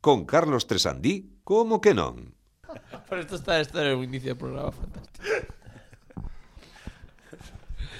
Con Carlos Tresandí, como que non? Pero esto está, esto era un inicio de programa fantástico.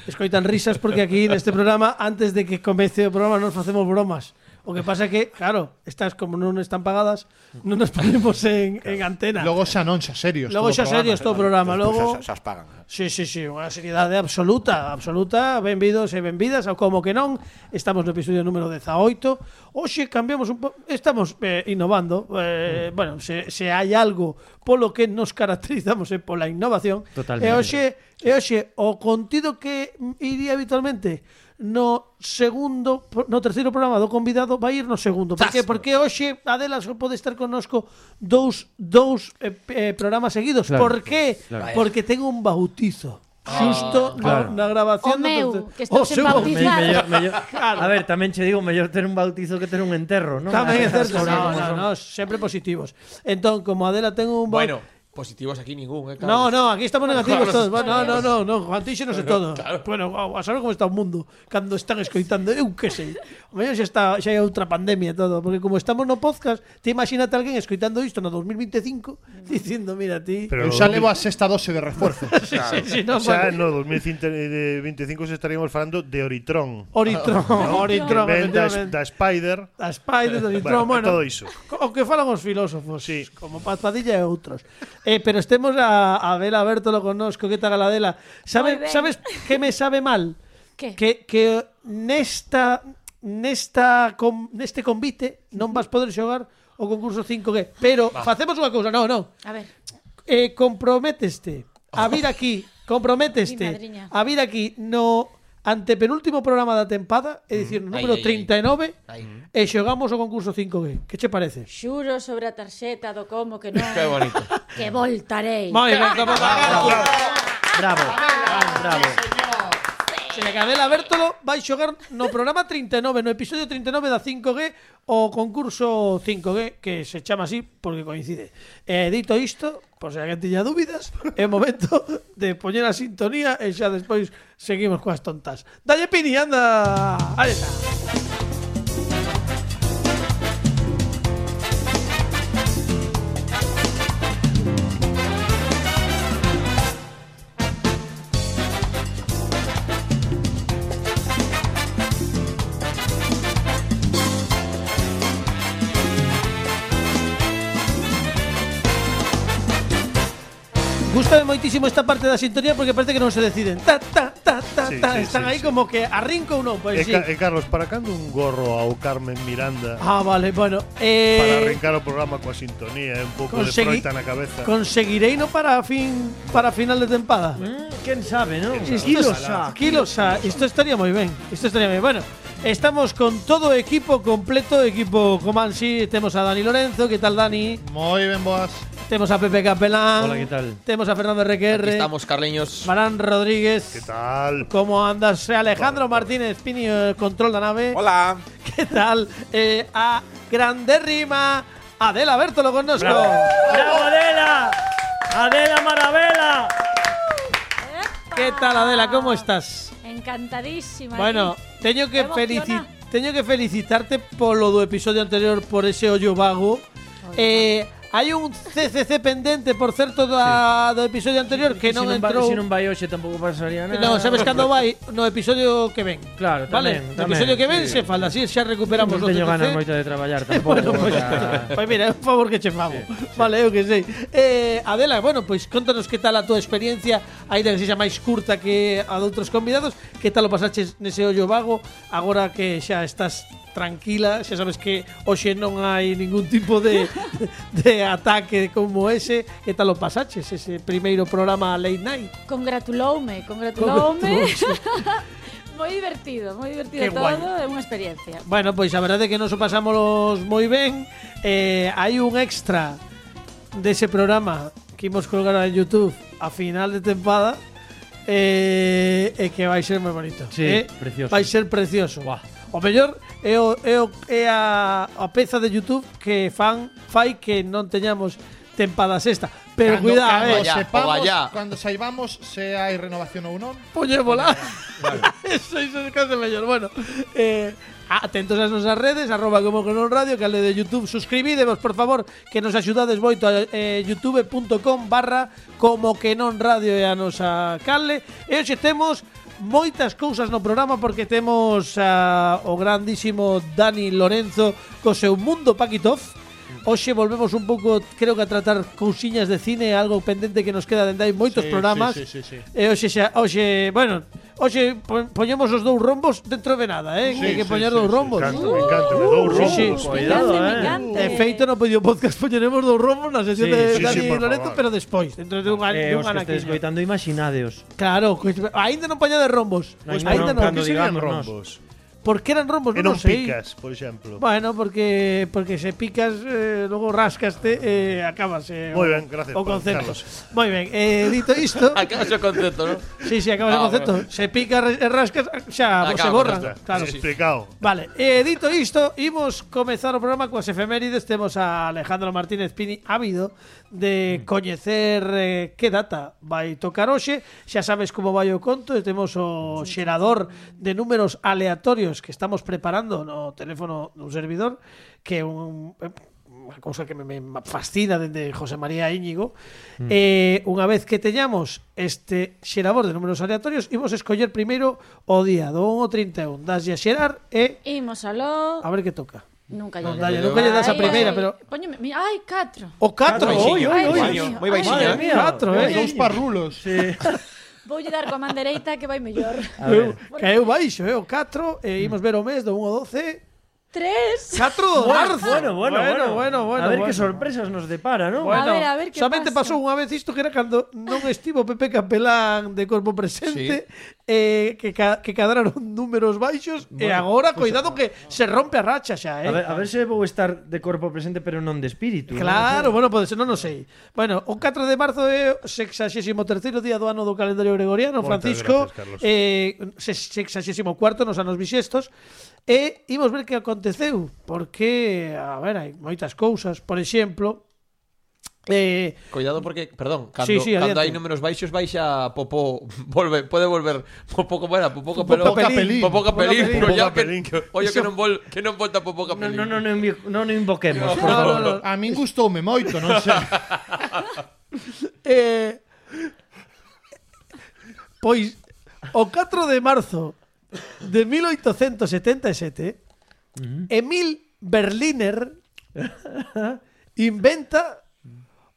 Escoitan risas porque aquí neste programa antes de que comece o programa nos facemos bromas. O que pasa é que, claro, estas como non están pagadas, non nos ponemos en, en antena. Logo xa non, xa serios. Logo todo xa o serios todo o programa, logo... Xa, xa, xa as pagan. Sí, sí, sí, unha seriedade absoluta, absoluta. Benvidos e benvidas ao Como que non. Estamos no episodio número 18. Hoxe cambiamos un po... Estamos eh, innovando. Eh, Bueno, se, se hai algo polo que nos caracterizamos é pola innovación. E Totalmente. hoxe, e hoxe o contido que iría habitualmente no segundo, no terceiro programa do convidado vai ir no segundo. Por que? Porque hoxe Adela só pode estar connosco dous, dous eh, eh, programas seguidos. Claro. Por que? Claro. Porque tengo un bautizo. Justo Claro. na, na grabación O meu, o que estou seu sen bautizar. bautizo. Claro. Mellor- mellor- A ver, tamén che digo, mellor ter un bautizo que ter un enterro, non? Tamén é As certo. No, cousas como no, son. no, sempre positivos. Entón, como Adela ten un Bueno, positivos aquí ningún, eh, No, Carlos. no, aquí estamos negativos Claro, todos. No, no, no, no, Juan Tixo non sei todo. Bueno, wow, a saber como está o mundo cando están escoitando, eu que sei. O mellor xa está xa é outra pandemia e todo, porque como estamos no podcast, te imagínate alguén escoitando isto no 2025 e dicindo, mira ti. Pero eu xa levo a sexta dose de refuerzo. sí, sí, sí, no, O sea, bueno. no, 2025 eh, se estaríamos falando de Oritron. Oritron, Oh, Oritron, en vez da, efectivamente. da Spider. A Spider, do Oritron, bueno. Bueno, todo iso. O que falan os filósofos, Sí. como Paz Padilla e outros. Eh, pero estemos a, a Adela Bertolo connosco, que tal Adela? Moi Sabe, ben. sabes que me sabe mal? Que? Que, que nesta, nesta com, neste convite non vas poder xogar o concurso 5G. Pero facemos unha cousa, non, non. A ver, Eh, comprométeste a vir aquí, Mi comprométeste madriña. a vir aquí no antepenúltimo programa da tempada, é dicir, Mm. no Ai, número ai, Mm. ai. 39, Ahí. e xogamos o concurso 5G. Que che parece? xuro sobre a tarxeta do como que non. Qué bonito. que voltarei. Moi ben, como Bravo. Bravo. Se le cadela Bertolo vai xogar no programa 39, no episodio 39 da 5G o concurso 5G que se chama así porque coincide. E dito isto, por se alguén tiña dúbidas, é momento de poñer a sintonía e xa despois seguimos coas tontas. Dalle Pini, anda! Aí está. Gústame moitísimo esta parte da sintonía porque parece que non se deciden. Ta, ta, ta, ta, Sí, ta. sí, Están sí, aí sí. como que arrinco ou non, pois E, sí. Ca- e Carlos, para cando un gorro ao Carmen Miranda Ah, vale, bueno. para Eh, arrancar o programa coa sintonía, eh, un pouco Consegui- de froita na cabeza. conseguirei no para fin para final de tempada. Mm, Quen sabe, non? Kilos a, kilos a. Esto estaría muy bien. Esto estaría muy bueno. Estamos con todo equipo completo, equipo Comansi. Tenemos a Dani Lorenzo, ¿qué tal Dani? Moi ben boas. Tenemos a Pepe Capelán. Hola, ¿qué tal? Tenemos a Fernando Aquí Requerre. estamos, carleños. Marán Rodríguez. Que tal? ¿Cómo andas? Eh, Alejandro Martínez Pini, eh, control de la nave. Hola. ¿Qué tal? Eh, a Grande Rima, Adela Bertolo con nosotros. Bravo, Adela. Adela Maravela. ¿Qué tal Adela? ¿Cómo Ah. estás? Encantadísima. Bueno, aquí. teño que Emociona. felicitar teño que felicitarte polo do episodio anterior por ese ollo vago. Eh, hai un CCC pendente, por certo, da, do episodio anterior que Se non non vai- entrou. Se non vai hoxe tampouco pasaría nada. No, sabes cando vai no episodio que ven. Claro, vale. tamén, No tamén. episodio que ven se fala, así xa recuperamos Non teño o CCC. ganas moito de traballar ¿eh? tampouco. Bueno, pues pois, pois mira, é un favor que che fago. Vale, eu que sei. Eh, Adela, bueno, pois contanos que tal a túa experiencia, aínda que sexa máis curta que a doutros convidados, que tal o pasaches nese ollo vago, agora que xa estás tranquila, xa sabes que hoxe non hai ningún tipo de, de ataque como ese, que tal o pasaches ese primeiro programa late night? Congratuloume, congratuloume. moi divertido, moi divertido Que guai. todo, é unha experiencia. Bueno, pues pois a verdade é que nos o pasámonos moi ben eh, Hai un extra dese programa que imos colgar a Youtube a final de tempada eh, E que vai ser moi bonito Sí, eh? precioso. Vai ser precioso Buah. O mellor é, o, é, o, é a, a peza de Youtube que fan fai que non teñamos tempada sexta Pero Cando- cuidado, cando eh, vaya, sepamos, o vaya. Cando saibamos se Pues hai renovación ou non. poñémola Eso, iso é case mellor Bueno, eh, Atentos ás nosas redes, arroba como que non radio, canal de YouTube. Suscribidevos, por favor, que nos axudades moito a eh, youtube.com barra como que non radio e a nosa canle. E hoxe temos moitas cousas no programa porque temos a, o grandísimo Dani Lorenzo co seu Mundo Paquitov. Hoxe volvemos un pouco, creo que a tratar cousiñas de cine, algo pendente que nos queda dende hai moitos Sí, programas. sí, sí, sí, sí. E hoxe xa, hoxe, bueno, hoxe po- poñemos os dous rombos dentro de nada, eh? que hai que poñer dous rombos. Me encanta, me encanta. Me dou Sí, sí. rombos. Cuidado, me eh. encanta. De feito, no pedido podcast poñeremos dous rombos na sesión Sí, de sí, Dani sí, por Loreto, favor. pero despois, dentro de un ano, Eh, de os un que ano aquí. estéis coitando, imaginádeos. Claro, pois, aínda non poñade rombos. Pois Non hai aínda ningún non. cando que digamos serían nós. rombos? Porque eran rombos, E non, non non sei. picas, por exemplo. Bueno, porque porque se picas, eh, luego rascaste, eh, acabas eh, o- Moi ben, gracias, o Juan concepto. Carlos. Moi ben, eh, dito isto, Acabas el concepto, ¿no? sí, sí, acabas Ah, o concepto. bueno. Se pica, re- e rascas, xa vos se Acaba, borra. ya está. Claro, Sí, sí. Explicado. Vale, eh, dito isto, imos comezar o programa coas efemérides Temos a Alejandro Martínez Pini ávido de coñecer eh, que data vai tocar hoxe Xa sabes como vai o conto e Temos o xerador de números aleatorios que estamos preparando no teléfono dun servidor Que é un, eh, unha cousa que me, me fascina dende José María Íñigo eh, Unha vez que teñamos este xerador de números aleatorios Imos escoller primeiro o día do 1 ao 31 Daslle a xerar e Imos aló. A ver que toca. Nunca Ah, No, lle dale, dou. nunca lle das a Ay, primeira, ay, pero- Póñeme, mira, ai, 4. O Catro, 4. Oi, oi, oi. Ay, moi baixinha, eh. Madre mía. Catro, eh. Dos parrulos. Voulle dar coa man dereita que vai mellor. A ver. Caeu baixo, eh, o 4 e imos ver o mes do 1 ao 12. 3. 4 de marzo. Bueno, bueno, bueno. bueno, bueno, a ver bueno. qué sorpresas nos depara, ¿no? Bueno, A ver, a ver que Somente pasa. pasou unha vez isto que era cando non estivo Pepe Capelán de corpo presente eh, que, ca que cadraron números baixos e agora, coidado que se rompe a racha xa, eh. eh, A ver, a ver se vou estar de corpo presente pero non de espírito. Claro, bueno, pode ser, non o sei. Bueno, o 4 de marzo é o 63º día do ano do calendario gregoriano, Moitas Francisco. gracias, Carlos. eh, 64º nos anos bixestos. E imos ver que aconteceu, porque, a ver, hai moitas cousas. Por exemplo, eh, Cuidado porque, perdón, cando, Sí, sí, cando adiante. hai números baixos baixa Popó, volve, pode volver Popó como era, Popó Capelón. Popó Capelín. Popó Capelín, pero Popó ya Capelín. que, oye, que non, vol, que non volta Popó No, Capelín. no, no, no, invi- no, no invoquemos, por no, favor. no, no. A min gustoume moito, non sei. eh, pois o 4 de marzo de 1877 Emil Berliner inventa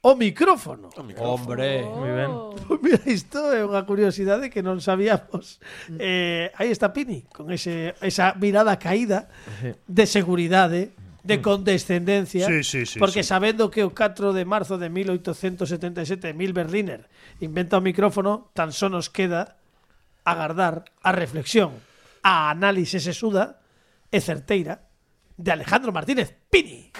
o micrófono. Hombre. Muy bien. Oh. Mira, isto é unha curiosidade que non sabíamos. Mm. Eh, aí está Pini, con ese, esa mirada caída de seguridade, de condescendencia, Mm. Sí, sí, sí, porque sí. sabendo que o 4 de marzo de 1877 Emil Berliner inventa o micrófono, tan só nos queda agardar a reflexión, a análise sesuda e certeira de Alejandro Martínez Pini.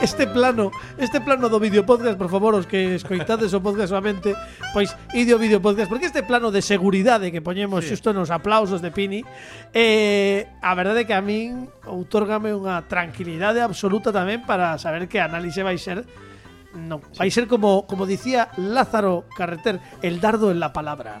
este plano, este plano do vídeo podcast, por favor, os que escoitades o podcast solamente, pois ide o vídeo podcast, porque este plano de seguridade que poñemos xusto nos aplausos de Pini, eh, a verdade é que a min outórgame unha tranquilidade absoluta tamén para saber que a análise vai ser No, vai ser como, como dicía Lázaro Carreter, el dardo en la palabra.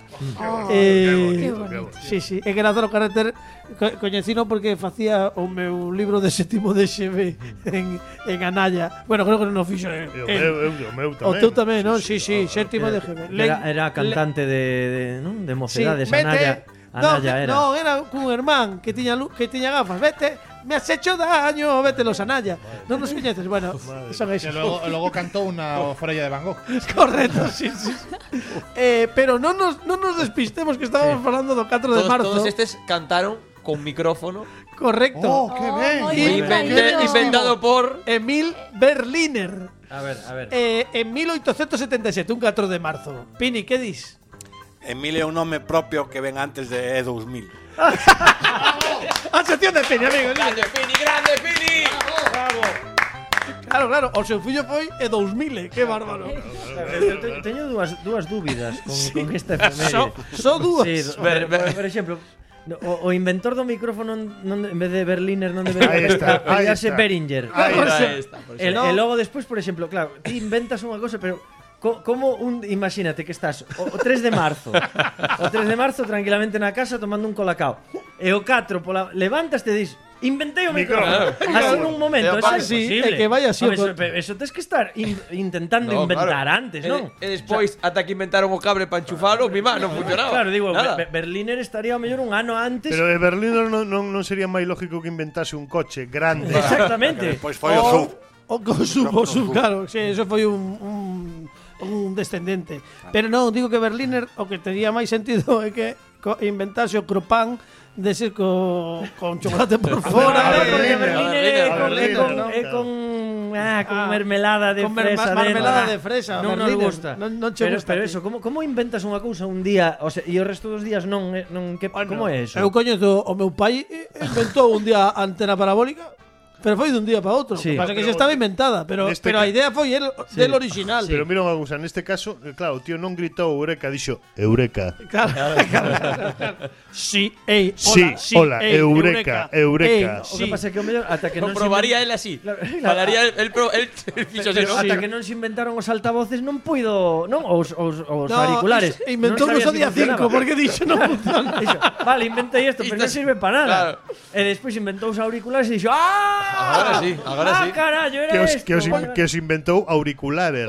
Eh, Qué bonito, qué bonito. Sí, sí, é que Lázaro Carreter co coñecino porque facía o meu libro de séptimo de XB en, en Anaya. Bueno, creo que non o fixo eh, Eu, el- eu, eu, o meu O tamén. teu tamén, non? Sí, sí, séptimo de GB. Eh, Era, era cantante de, de, ¿no? de mocedades, Anaya. No, Anaya era. no, era un hermán que tiña, lu- que tiña gafas. Vete, me has hecho daño, vete los Anaya. Non nos coñeces, bueno, son E esos. logo, e logo cantou unha forella de Van Gogh. Correcto, sí, sí. Eh, pero non nos, non nos despistemos que estábamos falando do 4 de Todos, marzo. todos este- estes cantaron con micrófono Correcto. Oh, que Oh, ben. moi ben invente- caído. inventado por Emil Berliner. A ver, a ver. Eh, en 1877, un 4 de marzo. Pini, que dis? Emilio é un nome propio que ven antes de E E2000. A sección de Pini, amigo. Grande Pini, grande Pini. Claro, claro, o seu fillo foi e 2000, eh, que bárbaro. Eu te- Teño dúas, dúas dúbidas con, con esta efeméride. Só- só dúas. Sí, do- Ver- por, ver- por exemplo, no, o, o inventor do micrófono non, en vez de Berliner non debería Ahí está, ahí apelidarse está. Beringer. Ahí Ahí está. está, por El, eso. eh, e logo despois, por exemplo, claro, ti inventas unha cosa, pero co- como un imagínate que estás o, o 3 de marzo, o 3 de marzo tranquilamente na casa tomando un colacao. E o 4 pola levantas te dis Inventei o micrófono. Micrófono. Así nun É momento, eso é aparte, sí, imposible. é que vaya así o Home, Eso, con- pero eso tes que estar in- intentando No, inventar claro. antes, E- non? E, despois, ata que inventaron o cable para enchufalo, mi má, non funcionaba. Claro, digo, Nada. Be- Be- Berliner estaría ao mellor un ano antes. Pero de Berlín non, non, non sería máis lógico que inventase un coche grande. Exactamente. Pois foi o sub. O con sub, o sub, claro. Sí, eso foi un, un, un descendente. Pero non, digo que Berliner o que tería máis sentido é que co- inventase o cropán de ser co, con chocolate por ¿eh? Fora, fora. Berliner, porque Berliner, Berliner é con, é Berliner, con, ¿no? é con, ah, con Ah, mermelada de con merma- fresa. marmelada dentro. Ah, de fresa, Non nos Berliner. gusta. Non- non che pero, gusta a pero ti. eso, como, como inventas unha cousa un día o sea, e o resto dos días non, eh, non que, bueno, como é eso? Eu coñezo o meu pai eh, inventou un día a antena parabólica. Pero foi dun día para outro. Sí. Sí. Pasa que se Pero estaba inventada, pero, neste pero a ca- idea foi el, del original. Pero mira unha cousa, neste caso, eh, claro, o tío non gritou Eureka, dixo Eureka. Claro, claro, claro. Sí, ey, hola, Sí, sí, hola, ey, eureka, ey, o eureka. sí. que pasa é que o mellor ata que Lo non se probaría él invent- así. Claro, claro. Falaría él, él, pro- él fixo Pero así, ata ¿no? que non se inventaron os altavoces non puido, non os, os, os No, auriculares. iso- Inventou non no sabías o día 5 que funcionaba. porque dixo non funciona. Dixo, vale, inventei isto, pero non Isto- sirve para nada. claro. E despois inventou os auriculares e dixo, "Ah! Agora sí, agora ah, sí." carallo, era Que os, isto. que os, in- Vale, que os inventou auricularer.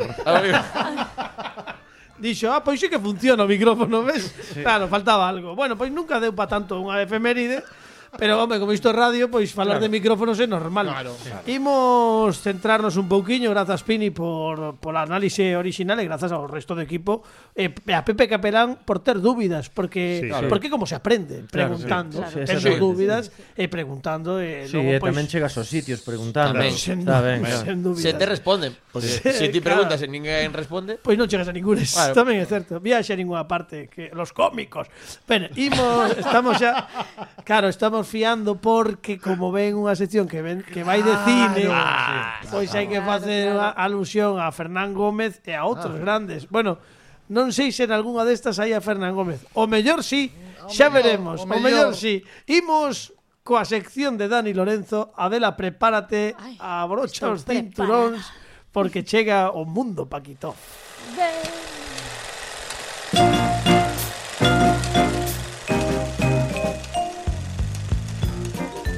Dixo, ah, pois sí que funciona o micrófono, ves? Claro, faltaba algo. Bueno, pois nunca deu pa tanto unha efeméride. Pero, home, como isto é radio, pois falar de micrófonos é normal. Claro, Imos centrarnos un pouquiño, grazas Pini por, por análise original e grazas ao resto do equipo, e a Pepe Capelán por ter dúbidas, porque Sí, claro. porque como se aprende, Claro, sí. preguntando, Claro. claro, sí, Sí, exactamente. dúbidas e preguntando e Sí, logo, e pois, tamén chegas aos sitios preguntando. Tamén. Está ben, claro. sen dúbidas. Se te responden. Porque se ti claro. Eh, preguntas e ninguén responde, Pois non chegas a ninguna, Claro. tamén é certo. Viaxe a ninguna parte, que los cómicos. Pero imos, estamos xa Claro, estamos fiando porque como ven unha sección que ven que vai de cine, pois hai que facer unha alusión a Fernán Gómez e a outros grandes. Bueno, non sei se en algunha destas hai a Fernán Gómez. O mellor sí, xa veremos. O mellor sí. Imos coa sección de Dani Lorenzo, Adela, prepárate, Ai, abrocha estou os cinturóns porque chega o mundo Paquito.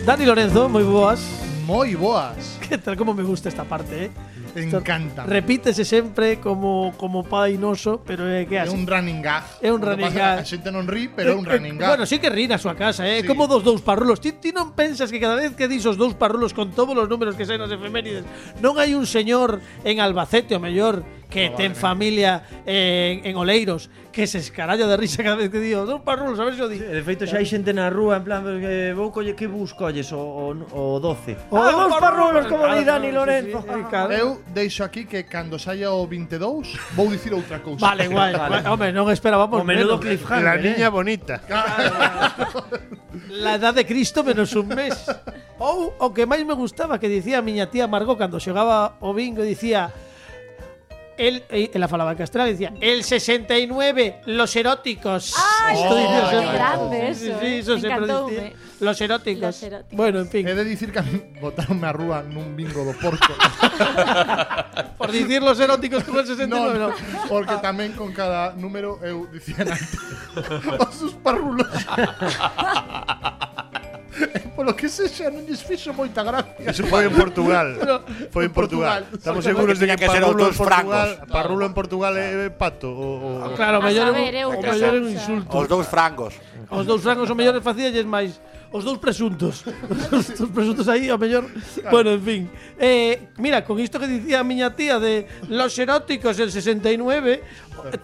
Dani Lorenzo, moi boas. Muy boas. Que tal como me gusta esta parte, eh? Me Esto encanta. Repítese sempre como como pai noso, pero eh, é que É así. un running gag. É un Lo que running pasa é que gag. A xente non ri, pero é un Eh, eh, running gag. Bueno, sí que rir a súa casa, eh? Sí. Como dos dous parrulos. Ti, ti non pensas que cada vez que dis os dous parrulos con todos os números que saen nas efemérides, non hai un señor en Albacete, o mellor, que ten familia eh, en, en Oleiros, que se escaralla de risa cada vez que digo dous parrulos, a ver se o di. E De feito xa hai xente na rúa en plan pero que vou colle que bus colles o o, o 12. O dous ah, dous parrulos, parrulos como di claro, Dani sí, Lorenzo. Ah, sí, sí, claro. Eu deixo aquí que cando saia o 22 vou dicir outra cousa. Vale, guai. Vale. guai. Home, non esperábamos O menudo menos. cliffhanger. La eh. niña bonita. La edad de Cristo menos un mes. Ou o que máis me gustaba que dicía a miña tía Margot cando xogaba o bingo dicía el e- ela falaba en castelán dicía el 69 los eróticos. Ai, Isto dicía qué sempre. grande Sí, eso, sí, eh. eso Me sempre encantoume. dicía. Los eróticos. Los eróticos. Bueno, en fin, He de dicir que a mí botaronme a rúa nun bingo do Porto. por dicir los eróticos tú el 69 no. non, porque tamén con cada número eu dicía antes "Oh, os seus parrulos. E Polo que sexa non lles fixo moita gracia. Eso foi en Portugal. foi en en Portugal. Portugal. Estamos Porque seguros de tiña que, que ser parrulo en autores Portugal, francos. parrulo en Portugal é pato o, o- Claro, o A mellor é saber, eh, un- o o que mellor é un pasa. insulto. Os dous frangos. Os dous frangos o mellor facíalles máis Os dous presuntos Os dous presuntos aí o mellor Bueno, en fin eh, Mira, con isto que dicía a miña tía De los eróticos el 69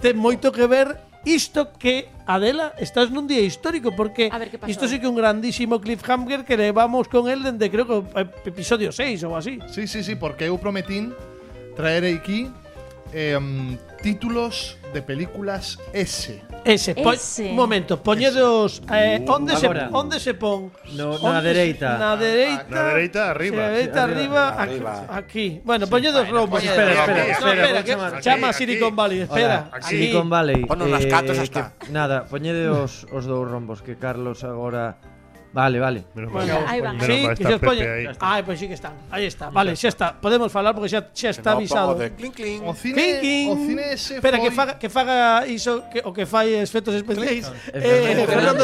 Ten moito que ver Isto que, Adela, estás nun día histórico Porque A ver, que pasou? isto sí que un grandísimo cliffhanger Que levamos con él dende creo que o ep- episodio 6 ou así Sí, sí, sí, porque eu prometín traer aquí em, títulos de películas S. Ese, po- Ese. un momento Poñedos, eh, onde, se, Agora. onde se pon? No, Onde na se- dereita. Na dereita Ah, Na dereita, arriba. Na dereita, arriba, arriba. aquí, aquí. Bueno, poñedos rombos. poñedos Espera, espera, No, espera, espera, vou que chamar. chama a Aquí, Silicon aquí. Valley, espera. Hola, aquí. aquí. Silicon Valley. eh, Ponos nas catos, xa que- está. Nada, poñede os, os dous rombos que Carlos agora Vale, vale. Menos Bueno, mal. ahí van. Menos sí, mal que está se os Ah, Pepe poñe- ahí. Ai, pois sí que están. Aí está. Vale, xa está. Podemos falar porque xa, xa está avisado. de clink, clink. O cine, Clink, clink. o cine ese Espera, foi- que faga, que faga iso que, o que fai efectos especiais eh, Fernando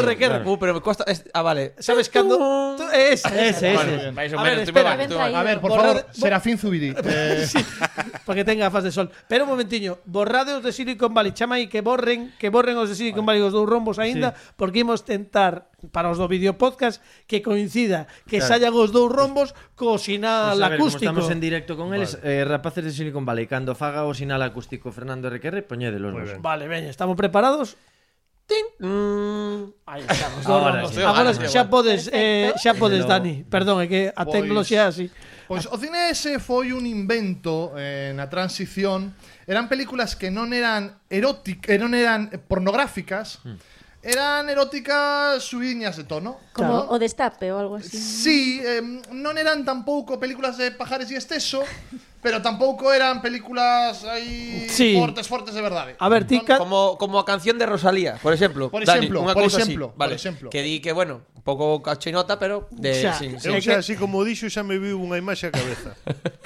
Fernando Requerra. Requer. Uh, pero me cuesta. es- ah, vale. Sabes cando... Tú- Ese, Ese, Vale. ese. Vais, A Homero, ver, tú espera, me vas, tú me vas. ven A ver, por Borrar- favor, Serafín Zubiri. Eh, Sí, para que tenga faz de sol. Pero un momentiño, borrade os de Silicon Valley, chama aí que borren, que borren os de Silicon Valley os dous rombos aínda, porque imos tentar para os do video podcast que coincida que Claro. saian os dous rombos co sinal Pues a ver, como acústico. estamos en directo con eles, eh, rapaces de Silicon Valley, cando faga o sinal acústico Fernando Requerre, poñédelos Muy vos. bien. Vale, veña, estamos preparados? Tin. Mm, Aí estamos, dos Ahora rombos. sí. Ah, Agora Ahora sí. xa podes, eh, xa podes, Pero- Dani. Perdón, é que a Pois- tecnoloxía así. Pois o cine ese Pues foi un invento eh, na transición. Eran películas que non eran eróticas, non eran pornográficas, Hmm. eran eróticas subiñas de tono. Como o destape o algo así. Sí, eh, non eran tampouco películas de pajares e esteso, pero tampouco eran películas aí Sí. fortes, fortes de verdade. A ver, ti ca- Como, como a canción de Rosalía, por ejemplo. Por Dani, ejemplo, una por cosa así, ejemplo, vale, por ejemplo. Que di que, bueno, un pouco cachinota, pero de, O sea, sin- sin- Eu É que- xa, así como dixo, xa me viu unha imaxe a cabeza.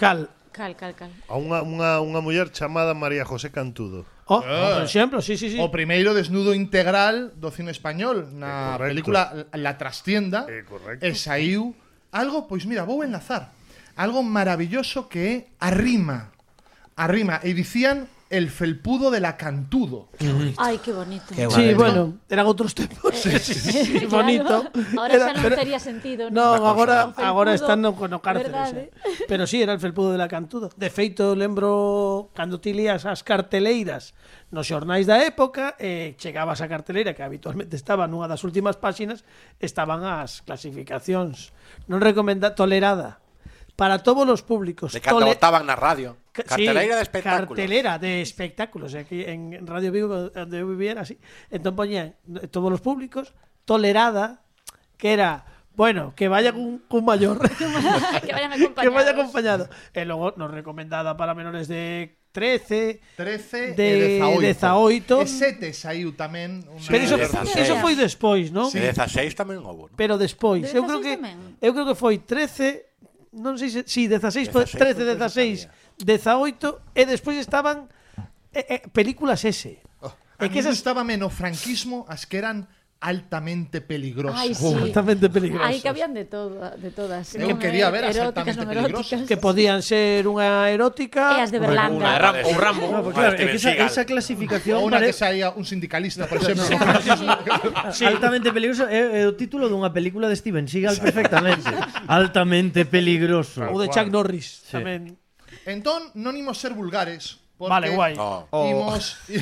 Cal. Cal, cal, cal. A unha, unha, unha muller chamada María José Cantudo. Oh, por exemplo, sí, sí, sí. O primeiro desnudo integral do cine español na É Eh, correcto. película La Trastienda. É correcto. E saiu algo, pois mira, vou enlazar. Algo maravilloso que é a rima. A rima. E dicían el felpudo de la Cantudo. Mm. Ay, qué bonito. Sí, bueno, eran outros tempos. Sí, sí, Claro, bonito. Ahora Era- xa non era- tería sentido. No, agora Un felpudo, agora están no con eh. o cárcel. verdade. xa. Pero sí, era el felpudo de la cantuda. De feito, lembro cando ti lías as carteleiras nos xornais da época, eh, chegabas a carteleira que habitualmente estaba nunha das últimas páxinas, estaban as clasificacións non recomenda tolerada para todos os públicos. De cando Tole- votaban na radio. Ca- Carteleira sí, de espectáculos. Cartelera de espectáculos. Aquí en Radio Vigo, donde yo vivía, era así. Entonces ponían eh, todos los públicos, tolerada, que era, bueno, que vaya con con un mayor, que vayan que acompañados. vaya acompañado. Y luego nos recomendada para menores de 13. 13 De- e 18. 18. E sete saiu tamén. Una... Pero eso, de 16. eso foi despois, ¿no? Sí. De 16 tamén houbo, ¿no? Pero despois, De eu creo que 16 tamén. eu creo que foi 13, non sei se si pues, 16, 16, 13, pois, 16, 18 e despois estaban eh, eh, películas ese. A É que esas estaba menos franquismo as que eran altamente peligrosas. Ay, sí. altamente Ahí peligrosas. cabían de todo, de todas. Eu Non quería é- ver as eróticas, altamente non eróticas. peligrosas. Que podían ser unha E erótica. pues, as Una de de Berlanga. Rambo, un Rambo. No, pues Ahora claro, é Steven que esa, Seagal. esa clasificación Ou unha pare- que saía un sindicalista, por exemplo. altamente peligrosa é, é o título dunha película de Steven Seagal perfectamente. altamente peligroso. ou de Chuck Norris tamén. Entón, non imos ser vulgares. Porque Vale, guai. Ah. No. Imos, Oh.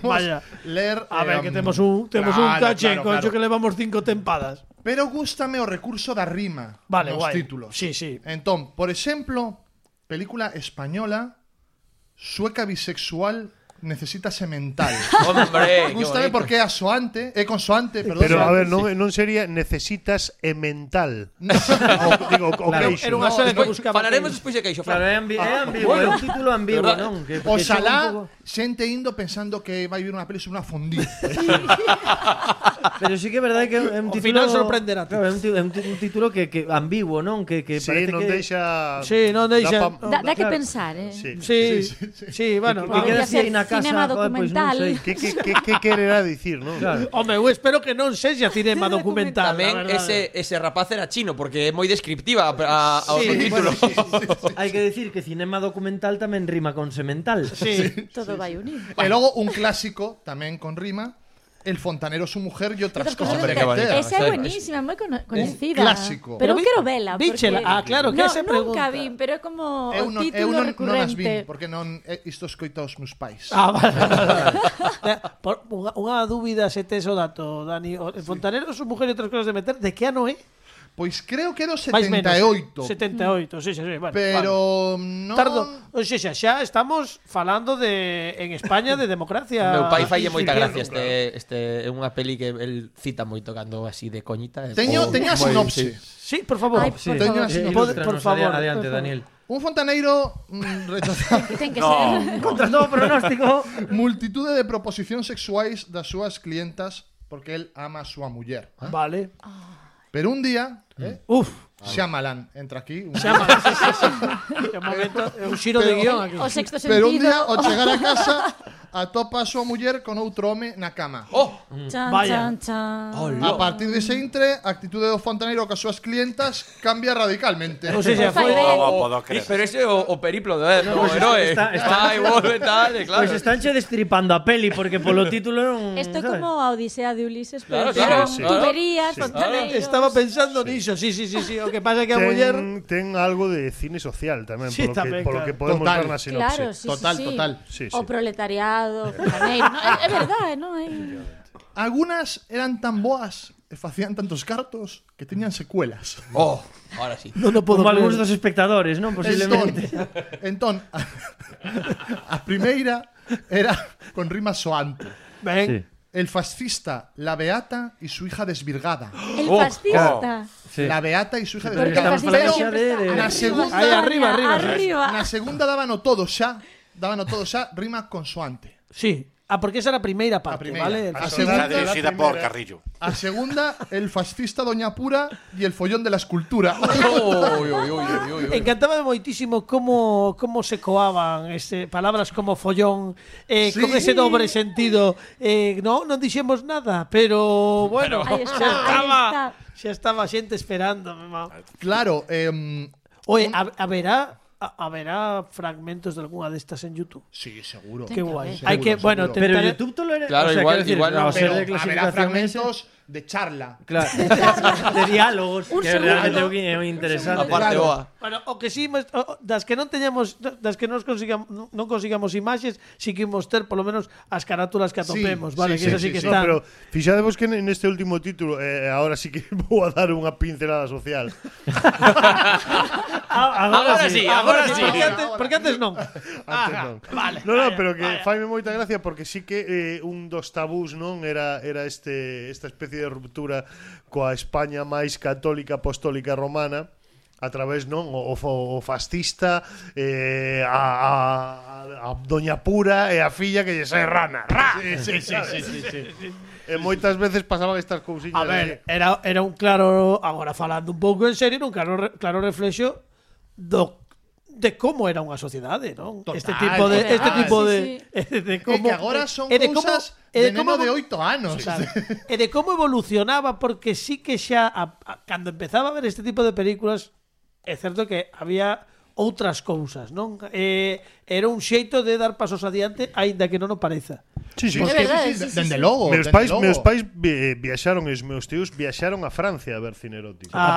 Vaya. ler... A ver, em, que temos un temos un claro, caché claro, coño claro. que levamos cinco tempadas. Pero gústame o recurso da rima Vale, nos guai. títulos. Sí, sí. Entón, por exemplo, película española sueca bisexual necesita semental. Hombre, qué bonito. gústame porque é asoante, é consoante, perdón. Pero a ver, Sí. non, non sería necesitas e mental. o, digo, o Claro, queixo. Era unha No, serie que Despois buscaba. falaremos que- eh, despois de queixo, Fran. Claro, é, ambi é ambiguo, é un título ambiguo, Verdad. non? Que, que chega un Oxalá pouco- xente indo pensando que vai vir unha peli sobre unha fondita. Pero sí que é verdade que é un O título... final sorprenderá. Claro, é un, ti- é un, ti- un título que, que ambiguo, non? Que, que Sí, parece non que... deixa... Sí, non deixa- dá pa- Da, da que Claro. pensar, eh. Sí. Sí, sí, bueno. Que Podría queda así aí ser na casa, cinema joder, pois non documental. sei. Que, que, que, que quererá dicir, non? Claro. Home, eu espero que non sexa cinema documental. Tamén la verdade. ¿eh? ese, ese rapaz era chino, porque é moi descriptiva a, a, ao Sí, título. Hai que decir que cinema documental tamén rima con semental. Sí. Todo vai unido. E logo un clásico, tamén con rima, El fontanero, su mujer y otras cosas. Outras cosas Hombre, que- qué bonito. Esa é Sí, buenísima, moi cono- coñecida. pues, clásico. Pero Pero eu vi- quero vela. víchela. porque- Ah, claro, que no, esa é Nunca pregunta. vin, pero é como eu o non, eu non, título non as recurrente. vin, porque non eh, isto escoito aos meus pais. Ah, vale, vale, vale. Por, unha, unha dúbida se tes o dato, Dani. O, Fontanero, su mujer e outras cosas de meter, de que ano é? Pois creo que era o Mais menos. 78, 78, sí, sí, sí. Vale, vale. pero non... Tardo, o sea, xa, xa estamos falando de en España de democracia. Meu pai falle Sí, moita claro. gracia este, este é unha peli que el cita moito cando así de coñita. e- Oh, Teño, teño a moi- sinopse. Sí, por favor. Ay, por Sí. favor. Teño así, Eh, no. ilústranos, Por favor, ade- por Adiante, favor. Daniel. Un fontaneiro mm, rechazado Ten que No, ser. Contra todo pronóstico. multitude de proposicións sexuais das súas clientas porque el ama a súa muller. Vale. Pero un día, eh, Ah. Uf, Shyamalan entra aquí. un- chama. Que momento, é un xiro de guión aquí. O sexto Pero sentido. un día, ao o- chegar a casa, atopa a súa muller con outro home na cama. Oh, Chan, Vaya. chan, chan. A partir dese intre, a actitude do fontanero coas súas clientas cambia radicalmente. Ou seja, foi... Fai ben. Oh, podo Sí, creer. pero ese o, o periplo de no, pues heroe. está- está- Vai, volve, tal, e claro. Pois pues estánche destripando a peli porque polo título non... Esto sabes? como a Odisea de Ulises, Claro, pero claro, claro, sí. Ah, tuberías, fontaneiros. Estaba pensando niso, sí, sí, sí, sí. O que pasa é que a ten, muller... ten algo de cine social tamén, Sí, polo, tamén, que, polo claro. que podemos Total. ver na sinopsis. Claro, sí, Total, sí, sí. total. Sí, sí. O proletariado, fontaneiro. ¿eh? No, é, é verdade, non? É... Algunas eran tan boas e facían tantos cartos que teñan secuelas. Oh, ahora sí. Non o podo Como algúns creer. dos espectadores, non? Posiblemente. Entón, entón a, a primeira era con rima soante. Ben, Sí. El fascista, la beata y su hija desvirgada. El fascista. Sí. La beata y su hija Porque el estamos desvirgada. fascista falando Pero xa de- de- na segunda- Sonia, arriba, arriba. arriba. na segunda dábano todo xa, dábano todo xa, rima consoante. sí. Ah, porque esa era a primeira parte, primeira. vale? A Está segunda- dirigida la por primera. Carrillo. A segunda, el fascista Doña Pura y el follón de la escultura. Oh, uy, uy, uy, uy, uy. Encantábame moitísimo como como se coaban este palabras como follón eh, Sí. con ese dobre sentido. Eh, no, non dixemos nada, pero bueno, Ahí está, xa ahí estaba, está. xa estaba xente esperando, mamá. Claro, em, Oe, ha- haberá ha- haberá fragmentos de alguna destas en YouTube. sí, seguro. Qué guai. Seguro, Hay que, seguro. bueno, Pero tentaré- YouTube todo lo era... Claro, o sea, igual- quiero decir, igual a no, ser de Pero haberá clasificación ese- fragmentos de charla. Claro. de diálogos, Un que segundo. realmente é o que é o interesante. Aparte, oh. boa. Claro. Bueno, o que sí, mas- o- o- das que non teñamos das que non consigamos non consigamos imaxes, si que imos ter polo menos as carátulas que Sí, atopemos, vale, sí, que sí, esas sí, sí, que sí. No, están. pero fixadevos que en este último título eh, Ahora sí que vou a dar unha pincelada social Ah, Agora, Agora sí, agora sí. Porque antes, porque antes non. Antes non. No, no, pero que faime moita gracia porque sí que eh, un dos tabús, non, era era este esta especie de ruptura coa España máis católica apostólica romana a través non o, o, fa- o fascista eh, a, a, a, a doña pura e a filla que lle sai rana. Ra! Sí, sí, sí, sí, sí, E moitas veces pasaban estas cousiñas. A ver, Er, era, era un claro, agora falando un pouco en serio, era un claro, re- claro reflexo do de como era unha sociedade, non? Total, este tipo de total. este tipo de Sí, de É como que agora son e de como- cousas e de, neno como- de 8 anos. Claro. e de como evolucionaba porque sí que xa a, a, cando empezaba a ver este tipo de películas é certo que había outras cousas, non? Eh, era un xeito de dar pasos adiante aínda que non o pareza. sí, sí. Pues É verdade, sí, sí, sí, dende sí. logo. Meus dende pais, logo. meus pais vi- eh, viaxaron e os meus tíos viaxaron a Francia a ver cine erótico. A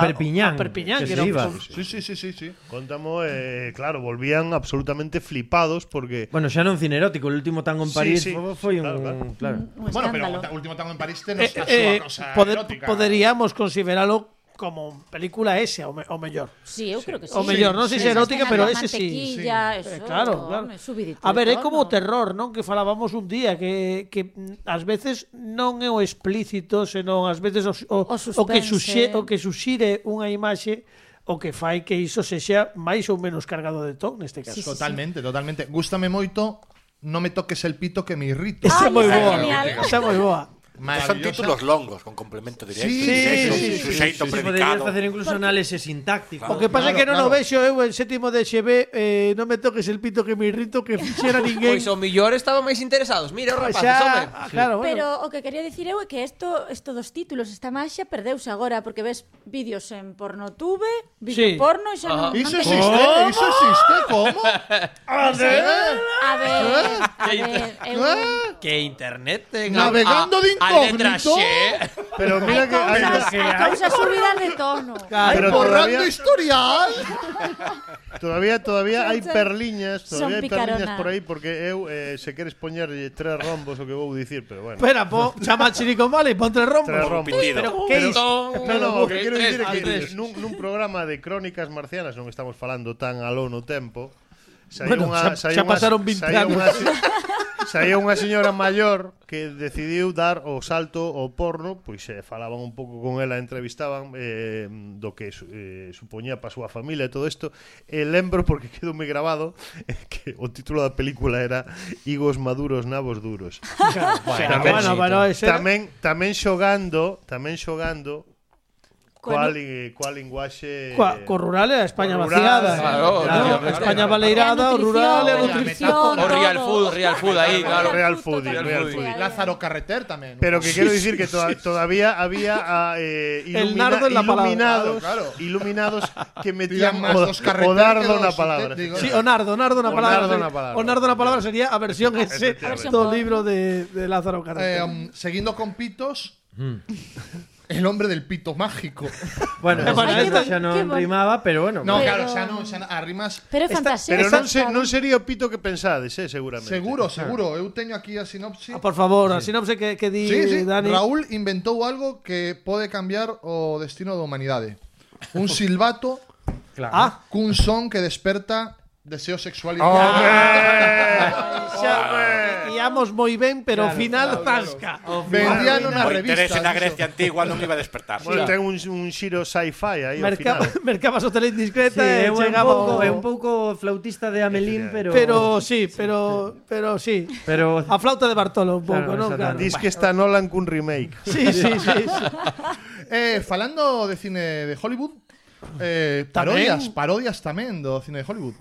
A Perpiñán, Perpiñán, que que, era un- se iba. Sí, sí, sí, sí, sí. Pues Contamos, eh, claro, volvían absolutamente flipados porque. Bueno, xa non cinerótico, o último tango en Sí, París sí, sí, sí, foi un... claro, claro. Claro. Un Bueno, pero escándalo. o último tango en París ten Eh, a súa eh, cosa pode- erótica. poderíamos consideralo como película ese o, me- o mellor. Sí, eu creo que sí. O mellor, non sei se Esas erótica, escenas pero da ese sí. mantequilla, Eh, eso, claro, claro. home, subidito A de ver, é tono. como o terror, non? Que falábamos un día que que mm, ás veces non é o explícito, senón ás veces o, o, O o que suxe, suspense. o que suxire unha imaxe o que fai que iso sexa máis ou menos cargado de ton neste caso. Sí, sí. Totalmente, totalmente. Gústame moito No me toques el pito que me irrita. Esa é Ay, moi esa é boa. genial. Esa é moi boa. Son Maravillosa. títulos longos, con complemento directo. Sí, directo, sí, sí, suxeito Se podería predicado. facer incluso análises sintácticos. O que pasa é Claro, Mm. que non o claro. vexo eu en sétimo de XB, eh, non me toques el pito que me irrito que fixera ninguén. Pois o millor estaban máis interesados. Mira, os rapaces, home. Xa, Pues ah, claro, bueno. Pero o que quería dicir eu é que isto estos dos títulos, esta maxia perdeuse agora porque ves vídeos en pornotube, Sí. vídeo porno e xa non. Iso non existe, iso existe, como? A Ah, ver. A ver, a ¿Eh? ver, eu Ah, Que internet ten Navegando de a letra incógnito. X. Pero hai mira que. hay- cousas, que hai hai- cousas subidas de tono. pero Borrando todavía, historial. todavía, todavía hai Son- perliñas, todavía son hai perliñas picarona. por aí porque eu eh, se queres poñerlle tres rombos o que vou dicir, pero bueno. Espera, po, chama al Silicon Valley, ponte el rombo. Tres rombos. Pitido. ¿Qué Pero- hizo? No, no, o que quero dicir é Andrés. que nun, nun programa de crónicas marcianas non estamos falando tan aló no tempo. Saiu Bueno, unha, xa- xa saiu unha- pasaron 20 saiu anos. unha se- Saiu unha señora maior que decidiu dar o salto ao porno, pois eh, falaban un pouco con ela, entrevistaban eh, do que su- eh, supoñía para a súa familia e todo isto. E lembro porque quedou moi grabado eh, que o título da película era Higos maduros, nabos duros. Bueno, bueno, bueno, ese. tamén tamén xogando, tamén xogando Coa, lin- coa linguaxe... Coa, co rural é a España co rural, vaciada. claro, eh, claro, ¿no? claro, A España claro. baleirada, o rural é a nutrición. O Real Food, Real Food ahí, claro. Real Food, Real Food. Lázaro Carreter también. Eh, Pero que quiero decir que toda- todavía había ah, eh, El ilumina- nardo en la palabra. iluminados, Claro, claro. iluminados que metían Tiran más o, los carreteros o dardo que una los palabra. sintéticos. Sí, o nardo, nardo na O palabra. nardo sería- na palabra. O nardo na palabra sería a versión ese Efectivamente. do libro de, de Lázaro Carreter. Eh, um, seguindo con pitos, el hombre del pito mágico. Bueno, Eh, bueno, esa esto- xa qué non bon- rimaba, pero bueno. No, Pero- claro, xa non, xa non, arrimas Pero é fantasía. Pero non, se, non sería o pito que pensades, eh, seguramente. seguro, seguro. Eu teño aquí a sinopsis. Ah, Por favor, así non sei que, que di Sí, sí. Dani. Raúl inventou algo que pode cambiar o destino da humanidade. Un silbato Ah, cun son que desperta deseo sexual. xa guiamos moi ben, pero ao final tasca. Vendían una O revista. interés na diso. Grecia antigua non me iba a despertar. Bueno, ten un, un xiro sci-fi aí ao Merca, final. mercabas o tele Sí, indiscreta e é un chegaba o- pouco, é un pouco flautista de Amelín, pero Pero sí, pero pero sí. pero A flauta de Bartolo un pouco, Claro, non? Claro. exactamente. Dis que está Nolan cun remake. Sí, sí, sí. sí. Eh, falando de cine de Hollywood, eh, Tamén. parodias, parodias tamén do cine de Hollywood.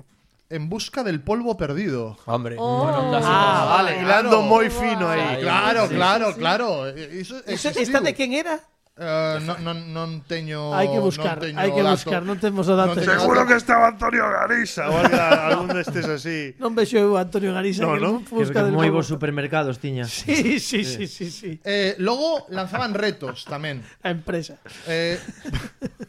En busca del polvo perdido. Hombre. Oh. Bueno, clásico. Ah, vale, Hilando moi fino Ahí. aí. Claro, claro, claro. Eh, Iso Eso, existiu. esta de quen era? Eh, non, non, non teño hai que buscar, non teño hai que dato. buscar, non temos o dato. Non teño Seguro que estaba Antonio Garisa ou alga- algún destes así. Non vexo eu a Antonio Garisa No, que non? que, busca del que moi polvo. bons supermercados tiña. Sí, sí, sí, sí, sí. Eh, logo lanzaban retos tamén. A empresa. Eh,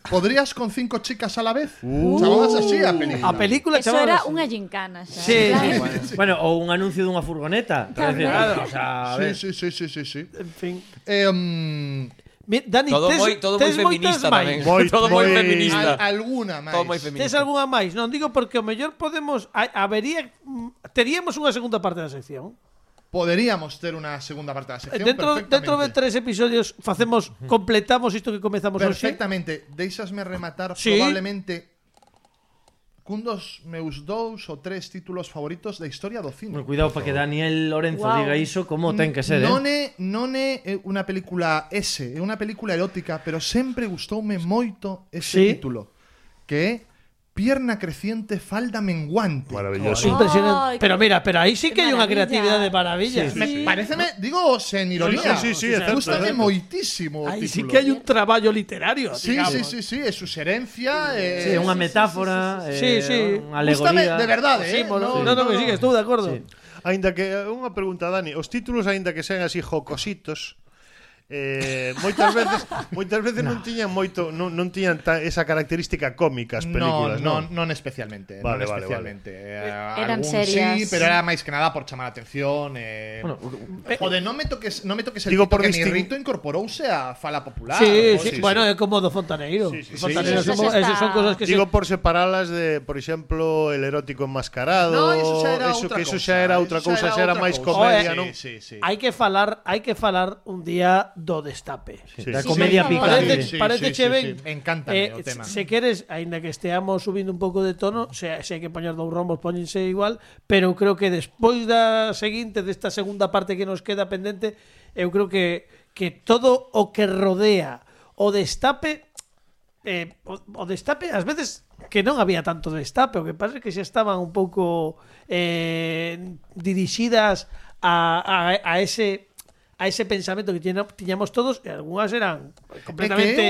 ¿Podrías con cinco chicas a la vez? Uh. Chamabas así a película. A película Eso era chamaba. unha gincana xa. Sí, claro. Bueno, ou un anuncio dunha furgoneta. Quero dicir, O Claro. sea, a ver, Sí, sí, sí, sí, sí, sí. En fin. Eh, mm, Mi- Dani, Todo tes, moi, todo moi tes feminista moitas máis. tamén. Moi, todo moi moi- feminista. al- alguna máis. Todo moi Tes feminista. algunha máis? Non digo porque o mellor podemos ha- habería mm, teríamos unha segunda parte da sección. Poderíamos ter unha segunda parte Eh, da sección Dentro perfectamente. dentro de tres episodios facemos completamos isto que comezamos hoxe. Perfectamente. Deixasme rematar Sí. probablemente cun dos meus dous ou tres títulos favoritos da historia do cine. bueno, cuidado para que Daniel Lorenzo Guau. diga iso como ten que ser, non é, eh. non é eh, unha película S, é unha película erótica, pero sempre gustoume moito ese Sí. título, que é Pierna creciente, falda menguante. Maravilloso. Impresionante. Ay, pero mira, pero aí sí que qué hai unha maravilla. creatividade de maravilla. Me pareceme, digo, sen ironía. Sí, sí, sí, sí, é certo, é Gústame certo. moitísimo o Aí sí título. que hai un traballo literario. Sí, sí, sí, sí, é suxerencia, é Sí, unha metáfora, sí, sí, sí. eh, unha Gústame alegoría. de verdade, eh. Símbolo. non- No, no, que sí, que estou de acordo. Sí. Ainda que eh, unha pregunta, Dani, os títulos aínda que sean así jocositos, eh, moitas veces moitas veces non tiñan moito non, non tiñan ta, esa característica cómica as películas, no, non. no, non especialmente, Vale, non vale, especialmente. Eh, algún Eran serias. Sí, pero era máis que nada por chamar a atención, eh. Joder, non me toques, non me toques el Digo pito por que disting- mi rito incorporouse a fala popular. Sí, o sí, sí, bueno, é como do Fontaneiro. Sí, sí, Fontaneiro Sí, sí, eso son, xa esas son está. cosas que se... Digo por separalas de, por exemplo, el erótico No, enmascarado, eso xa era eso outra que eso cousa, xa era outra eso xa cousa, era xa era outra máis cousa. comedia, Oe, Ah, non? sí, sí, sí. Hai que falar, hai que falar un día do destape. Sí. Da Sí, comedia sí, picante. Parece, Sí, sí, parece sí, che sí, ben. sí. Encántame o Eh, tema. Se queres, aínda que esteamos subindo un pouco de tono, se, se hai que poñer dous rombos, poñense igual, pero creo que despois da seguinte, desta segunda parte que nos queda pendente, eu creo que que todo o que rodea o destape eh, o, o destape ás veces que non había tanto destape, o que pasa é que xa estaban un pouco eh, dirixidas a, a, a ese a ese pensamento que tiña- tiñamos todos e algunhas eran É que é completamente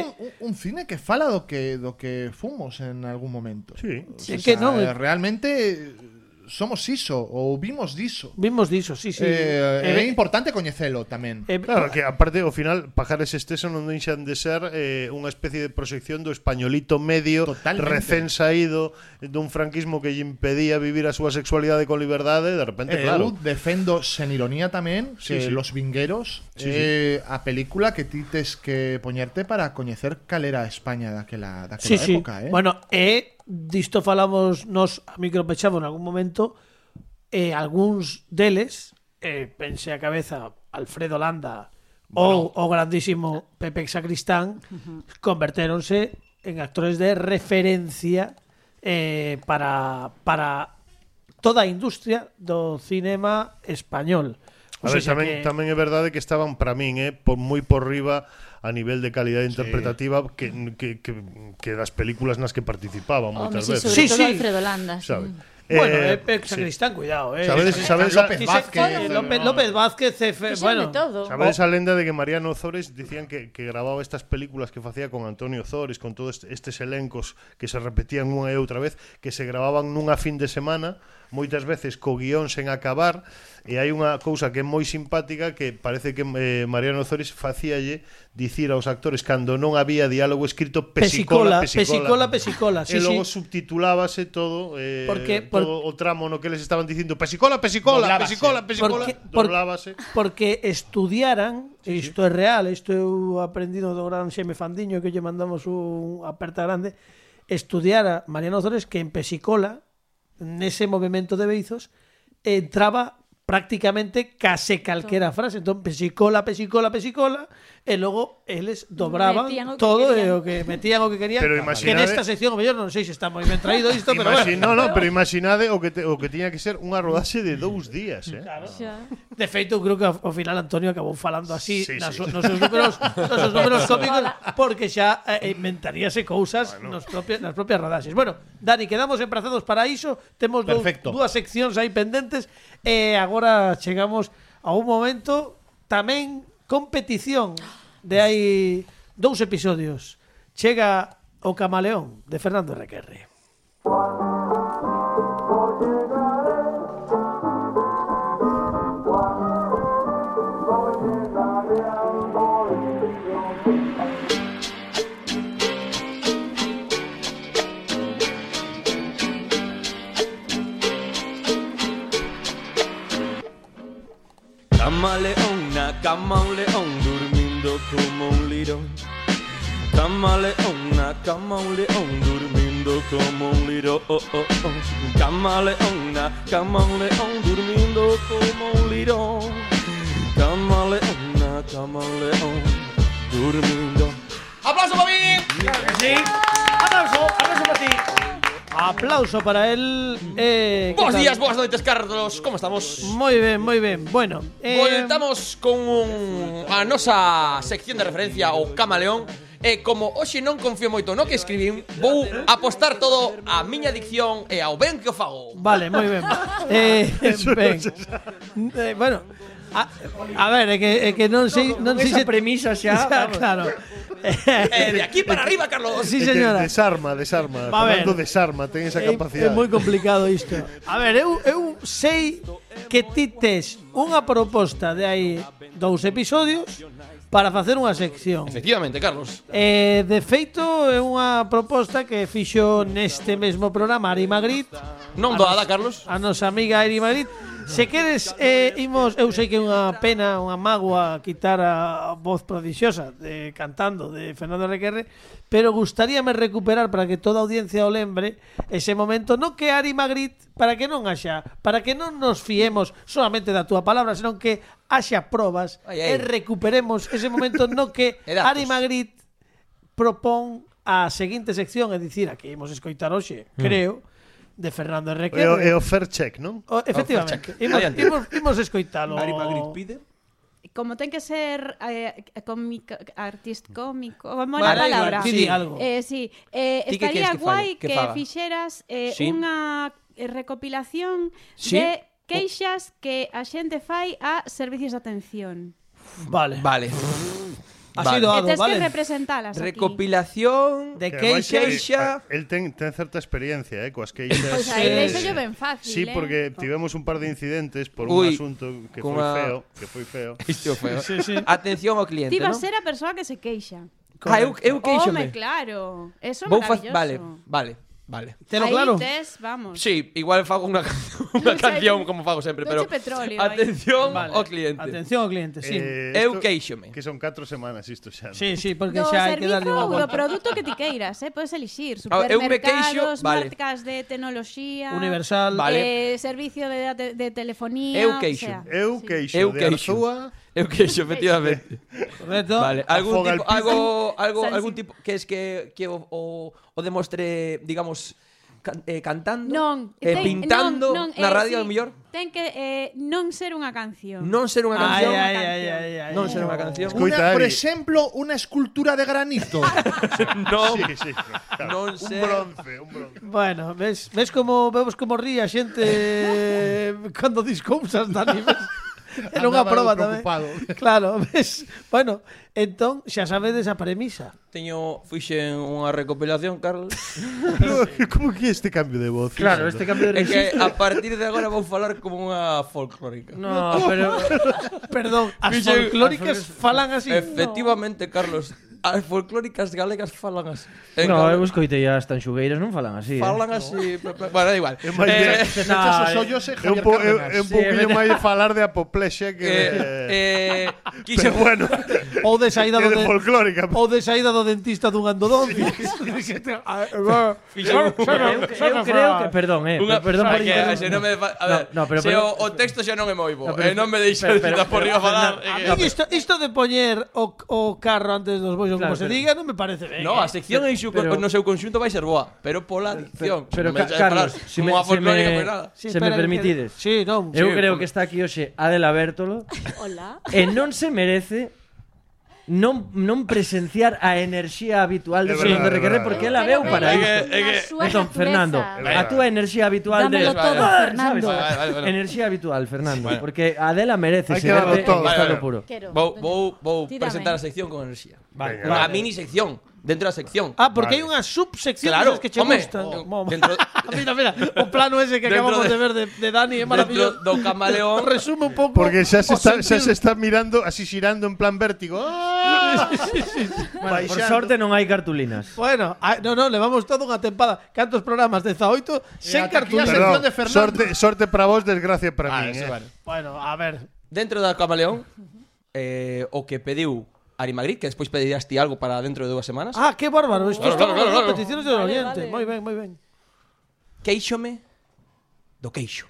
un, un cine que fala do que do que fomos en algún momento. Sí. Sí, que non, eh. eh, realmente eh, somos iso ou vimos diso. vimos diso, sí, sí. Eh, é Eh, importante coñecelo tamén. eh, Claro, que aparte, ao final, Pajares Esteso non deixan de ser eh, unha especie de proxección do españolito medio Totalmente. recén saído dun franquismo que lle impedía vivir a súa sexualidade con liberdade, de repente, Eh, claro. eu defendo sen ironía tamén que Sí, sí. Los Vingueros Sí, eh, a película que ti tes que poñerte para coñecer cal era a España daquela, daquela Sí, sí. época, eh. Bueno, e disto falamos nos a micropechado en algún momento e algúns deles eh, pense a cabeza Alfredo Landa ou o grandísimo Pepe Sacristán convertéronse en actores de referencia eh, para, para toda a industria do cinema español. O A ver, sea, que- tamén, tamén é verdade que estaban para min, eh, por moi por riba a nivel de calidade interpretativa que, que, que, que das películas nas que participaban Home, moitas sí, veces. sobre Sí, todo sí. Alfredo Landa. sí. ¿sabes? Bueno, Eh, eh, Pep sí. Sacristán, cuidado, eh. ¿Sabes, sabes, López Dice- Vázquez. López, López, López Vázquez, Cefe- Fixeron de bueno. todo. Oh. ¿Sabes esa lenda de que Mariano Zores decían que, que grababa estas películas que facía con Antonio Zores, con todos estes elencos que se repetían unha e outra vez, que se grababan nunha fin de semana, moitas veces co guión sen acabar, e hai unha cousa que é moi simpática que parece que eh, Mariano Zores facíalle dicir aos actores cando non había diálogo escrito Pesicola, pesicola, pesicola, pesicola, sí, e logo sí. subtitulábase todo, eh, Porque- por- todo o tramo no que les estaban dicindo pesicola, pesicola, Doblábase. pesicola, pesicola, Porque- por- doblábase. Porque estudiaran, isto é real, isto eu aprendido do gran Xeme Fandiño que lle mandamos un aperta grande, estudiara Mariano Zores que en Pesicola, nese movimento de beizos, entraba prácticamente case calquera frase. Entón, pesicola, pesicola, pesicola, e logo eles dobraban Metían o que todo e querían. o que metían o que querían. Pero que imaginade- nesta sección, o mellor, non sei se está moi ben traído isto, pero Imagi- bueno. no, no, pero imaginade o que, te- o que tiña que ser unha rodaxe de dous días, eh? Xa. De feito, eu creo que ao ao final Antonio acabou falando así Sí, nas, sí. nos seus números, nos seus números cómicos porque xa eh, inventaríase cousas nos propios, nas propias rodaxes. Bueno, Dani, quedamos emprazados para iso. Temos dous, Perfecto. dúas seccións aí pendentes e agora chegamos a un momento tamén competición de hai dous episodios. Chega o camaleón de Fernando Requerre. Camaleona, camaleón, durmiendo como un lirón. Camaleona, camaleón, durmiendo como un lirón. Camaleona, camaleón, durmiendo como un lirón. Camaleona, camaleón, durmiendo. ¡Aplauso para mí! Aplauso, aplauso para ti. Aplauso para él. Eh, ¿qué Buenos tal? días, buenas noites, Carlos. ¿Cómo estamos? Moi ben, moi ben. Bueno, eh, Voltamos con un, a nosa sección de referencia o camaleón E como hoxe non confío moito no que escribín Vou apostar todo a miña dicción e ao ben que o fago Vale, moi ben. Eh, ben. Eh, bueno, a, a ver, é que, é que non sei, non Con sei se... esa premisa xa, Xa, vamos. claro. Eh, E de aquí para arriba, Carlos sí, É que señora. Desarma, desarma. Va a ver. Eh, Fernando desarma, ten esa É, é capacidade. moi complicado isto. A ver, eu, eu sei que ti tes unha proposta de hai dous episodios para facer unha sección. Efectivamente, Carlos Eh, de feito, é unha proposta que fixo neste mesmo programa Ari Magritte Non doada, Carlos a nosa amiga Eri Madrid. Se queres, eh, imos, eu sei que é unha pena, unha mágoa quitar a voz prodixiosa de cantando de Fernando Requerre, pero gustaríame recuperar para que toda a audiencia o lembre ese momento, no que Ari Magritte, para que non haxa, para que non nos fiemos solamente da túa palabra, senón que haxa probas Ai, ai. e recuperemos ese momento no que E datos. Ari Magritte propón a seguinte sección, é dicir, a que imos escoitar hoxe, creo, de Fernando É o, é Requerre. o fair check, non? O, efectivamente. Imos, Adiante. imos, imos escoitalo. Ari Magritte pide. Como ten que ser eh, cómico, artista cómico, como la Vale, palabra. Sí, di algo. Eh, sí, eh, Ti que estaría queres que guai falle, que que, faga? fixeras eh, Sí. unha eh, recopilación Sí. de queixas que a xente fai a servicios de atención. vale. Vale Ha Vale. sido Que algo, tens vale. que representalas aquí. Recopilación De Que ademais que- queixa. queixas. eh, El ten, ten certa experiencia, eh, coas queixas. Pues, Pois aí Sí, deixo sí. yo ben fácil, Sí, eh. porque tivemos un par de incidentes por Ui, un asunto que foi cunha- feo, que foi feo. Isto é feo Atención ao cliente, Ti non? vas ser a persoa que se queixa. Ah, eu, eu Home, queixome claro. Eso é Vou faz... maravilloso. Vale, vale, vale Telo Aí claro. tes, vamos. Sí, igual fago una, una canción como fago sempre, Dulce pero petróleo aí. atención ao cliente. Atención ao cliente, sí. Eh, Eu isto- queixome. Que son 4 semanas isto xa. non? sí, sí, porque do xa hai que darlle servizo unha ou do volta. produto que ti queiras, eh? Podes elixir Ah, eu me queixo, supermercados, vale. marcas de tecnoloxía, Universal. eh, Vale. servicio de, de, de telefonía, Eu o queixo. sea. Eu queixo Eu de queixo. Arzúa, Eu queixo, efectivamente. Correcto. vale, algún tipo, Afoga el piso. algo, algo, Sansi. algún tipo que es que, que o, o, o demostre, digamos, can- eh, cantando, Non, eh, ten- pintando non, non, eh, na sí, radio ao mellor. Ten que eh, non ser unha canción. Non ser Ai, unha canción. ai, ai, ai, ai. non ser unha canción. Una, por ejemplo, una escultura de granito. non, Sí, sí, claro. non un ser. bronce, un bronce. Bueno, ves, ves como vemos como ría a xente eh, cando dis cousas, Dani, ves? Era unha Andaba proba eu tamén. preocupado. Claro, ves. Bueno, entón xa sabedes a premisa. Teño fixen unha recopilación, Carlos. ¿Cómo que este cambio de voz? Claro, este cambio de É que registro. a partir de agora vou falar como unha folclórica. No, pero Perdón, as Fixen- folclóricas as folclóricas- falan así. Efectivamente, Carlos, as folclóricas galegas falan así. En Eh, No, Gale- eu escoitei as tanxugueiras non falan así. Falan así, pe- pe- bueno, da igual. É máis Eh, directo. eh. Se echas os eh, hoyos e É un, Javier po, é, é Cárdenas. un pouquinho máis de falar de apoplexia que... eh, de- eh, quixen- pero bueno, Ou de saída é do de de, folclórica. ou de saída do dentista dun andodoncio. Ah, fixen- Eu, eu creo que, perdón, eh, Unha, perdón por que, interrumpir. se non me fa- a No, ver, no, pero- se pero- o, o texto xa non é moi bo, No, no, pero- e non me deixa pero- pero- pero, por riba pero- ah, falar. pero- eh, A mí isto, isto de poñer o, o carro antes dos bois, ou Claro, como se pero- diga, non me parece ben. No, eh. a sección en su, pero- no seu conxunto vai ser boa, pero pola dicción. Pero, non me Ca- deixa de Carlos, falar se como me, a se folclórica, me, pois nada. Sí, se me espera, que- permitides. Sí, non. Eu Sí, creo home. que está aquí hoxe Adela Bértolo Hola. e non se merece non non presenciar a enerxía habitual de É Fernando verdade, é Requeré verdade, porque é ela veu Pero para veis É isto. que- é na que- súa Entón, natureza. Fernando, a túa enerxía habitual de Dámelo Vale, todo, vale. Fernando. Sabes, Vale, vale, vale. Enerxía habitual, Fernando, Vale. porque Adela merece Hai se que darlo verte en todo. estado Vale, vale. puro. Quero. Vou, vou, vou Tírame. presentar a sección con enerxía. Vale, A mini sección, dentro da sección. Ah, porque Vale. hai unha subsección Claro, das que che home, gustan. oh, Mo- mo- dentro- mira, mira, o plano ese que Dentro acabamos de... de- ver de, de Dani é Dentro maravilloso. do camaleón Resume un pouco. Porque xa se, o está, xa sentir- se está mirando, así xirando en plan vértigo. ¡Ah! Bueno, por Baixando. sorte non hai cartulinas. Bueno, ah, no, no, levamos toda unha tempada. Cantos programas? 18 sen Eh, ata aquí a cartulinas. sección Perdón, de Fernando. sorte, sorte para vos, desgracia para Ah, min. eso Eh. vale. Bueno, a ver. Dentro da camaleón eh, O que pediu Ari Magritte Que despois pedirás ti algo para dentro de dúas semanas Ah, que bárbaro. Isto Claro, está claro, claro, claro, claro. peticiones del Oriente. Moi ben, moi ben. Queixome do queixo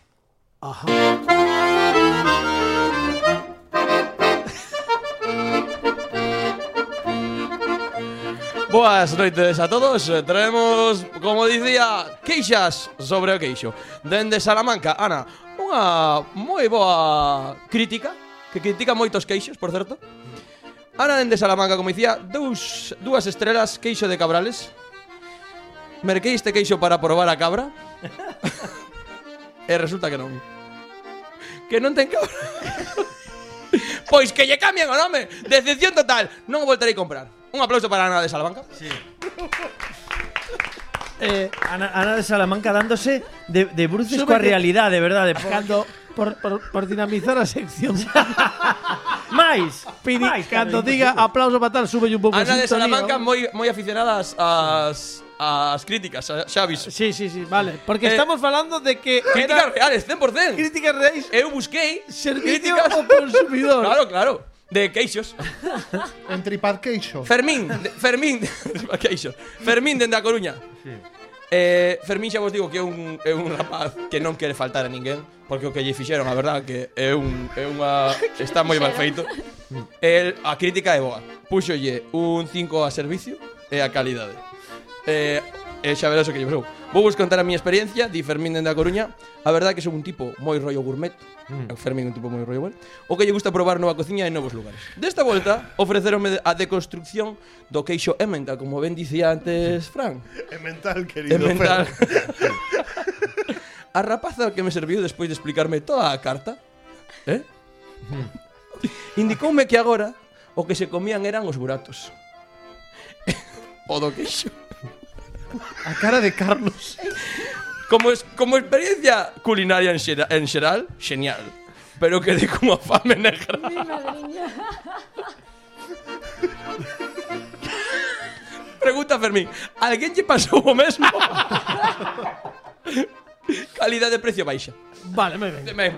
Ajá Boas noites a todos Traemos, como dicía, queixas sobre o queixo Dende Salamanca, Ana, unha moi boa crítica Que critica moitos queixos, por certo Ana dende Salamanca, como dicía, dous, dúas estrelas queixo de cabrales Merquei este queixo para probar a cabra E resulta que non Que non ten cabra Pois Pues que lle cambian o nome Decepción total Non o voltarei a comprar Un aplauso para Ana de Salamanca Eh, Ana, Ana de Salamanca dándose de, de bruces Súbete. coa realidade, de verdade. po- cando por, por, por dinamizar a sección Máis, Pidi, máis, cando diga Carolina. aplauso para tal, sube un pouco a Ana de pues sintonía, Salamanca ¿no? moi, moi aficionada ás, ás, ás críticas xa- Xa aviso Sí, sí, sí, vale. Eh, Porque estamos falando de que Críticas era reales, 100% críticas reais Eu busquei servicio críticas ao consumidor. Claro, claro De queixos En Tripadcation. Fermín, de- Fermín, que iso? Fermín dende a Coruña. Eh, Fermín xa vos digo que é un, é un rapaz que non quere faltar a ninguén Porque o que lle fixeron, a verdad, que é, un, é unha... Está moi mal feito El, A crítica é boa Puxolle un 5 a servicio e a calidade Eh, e xa verás o que lle pasou Vou vos contar a miña experiencia Di Fermín dende a Coruña A verdad que son un tipo moi rollo gourmet mm. Fermín é un tipo moi rollo bueno O que lle gusta probar nova cociña en novos lugares Desta volta ofreceronme a deconstrucción Do queixo emmental Como ben dicía antes Fran É mental, querido. É mental. Fer. a rapaza que me serviu despois de explicarme toda a carta, eh? Indicoume que agora o que se comían eran os buratos. o do queixo. A cara de Carlos. Como, es, como experiencia culinaria en, xera, en xeral, xenial. Pero quedei como a fame negra. Mi madriña. Pregunta a Fermín, alguén lle pasou o mesmo? Calidade de precio baixa. Vale, moi ben. Ben,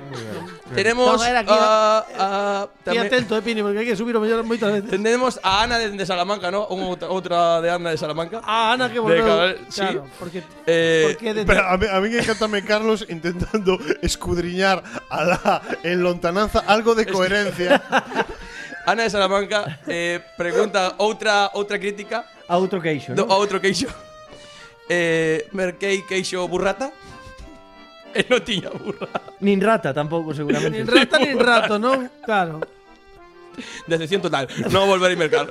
Tenemos ah, Toma, era aquí, a- a- Ti tamén- atento, eh, Pini, porque hai que subir o mellor moitas veces. Tenemos a Ana de, de Salamanca, ¿no? Un- otra, otra de Ana de Salamanca. Ah, Ana que De volveu. cabal- sí. Claro, porque Eh, porque de Pero a mí, a mí encantame Carlos intentando escudriñar a la, en lontananza algo de coherencia. Ana de Salamanca eh, pregunta otra, otra crítica A outro queixo, do- ¿no? a otro queixo. eh, merquei queixo burrata e non tiña burra. Nin rata tampouco, Nin seguramente. rata nin rato, non? Claro. Decepción total. Non volverei mercar.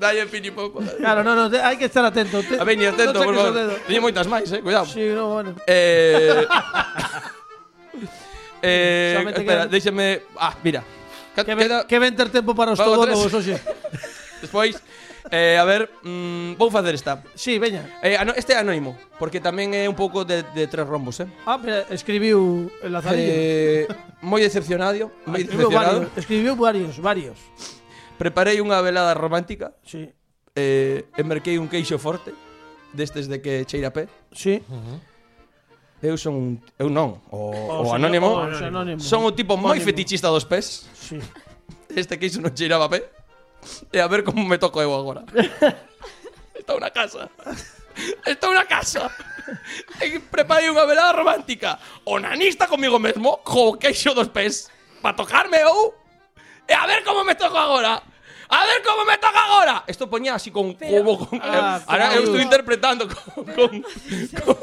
Dalle piñi pouco. Claro, non, non, te- hai que estar atento. Te, pues, A veña, atento, non por saques favor. o dedo. Tiña moitas máis, eh, cuidado. Sí, no, bueno. Eh, eh, Solamente espera, quedan- déixame... Ah, mira. Ca- Que, ven, queda- que ven ter tempo para os Pago todólogos tres. hoxe. Despois, eh, a ver, mm, vou facer esta. Sí, veña. Eh, ano- este é anónimo, porque tamén é un pouco de, de tres rombos, eh? Ah, pero escribiu el Lazarillo. eh moi decepcionado, moi escribiu, varios, decepcionado. escribiu varios, varios. Preparei unha velada romántica, Sí, eh, e merquei un queixo forte, destes de que cheira a pé. sí. Eu son un... Eu non, o, o, señor- anónimo. o anónimo. Son un tipo moi Anónimo. fetichista dos pés. Sí. Este queixo non cheiraba a pé. E a ver como me toco eu agora. Está unha casa. Está unha casa. E preparei unha velada romántica. Onanista comigo mesmo, co queixo dos pés. Para tocarme eu. E a ver como me toco agora. A ver como me toca agora. Esto poñía así con como con Ah, eh, Ahora eu claro. estou interpretando con con con,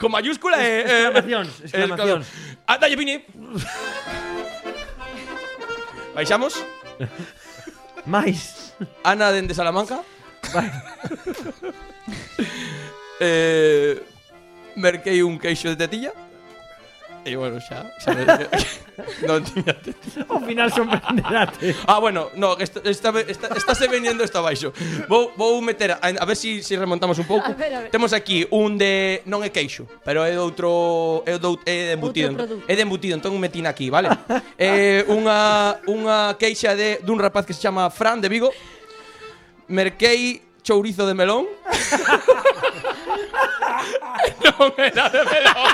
con mayúscula e eh, Ah, Exclamacións, exclamacións. Andalle Pini. Baixamos. Mais. Ana dende Salamanca. eh, merquei un queixo de tetilla. E bueno, xa, xa me- non tiña tetilla. Ao final sorprenderate. Ah, bueno, no, que esta, esta, esta, esta se veniendo esta baixo. Vou, vou meter, a, a ver si, si remontamos un pouco. A ver, a ver. Temos aquí un de non é queixo, pero é de outro é de, out- é de embutido. Outro entón- produto. É de embutido, entón metín aquí, vale? é unha unha queixa de dun rapaz que se chama Fran de Vigo. Merquei chourizo de melón. non era de melón.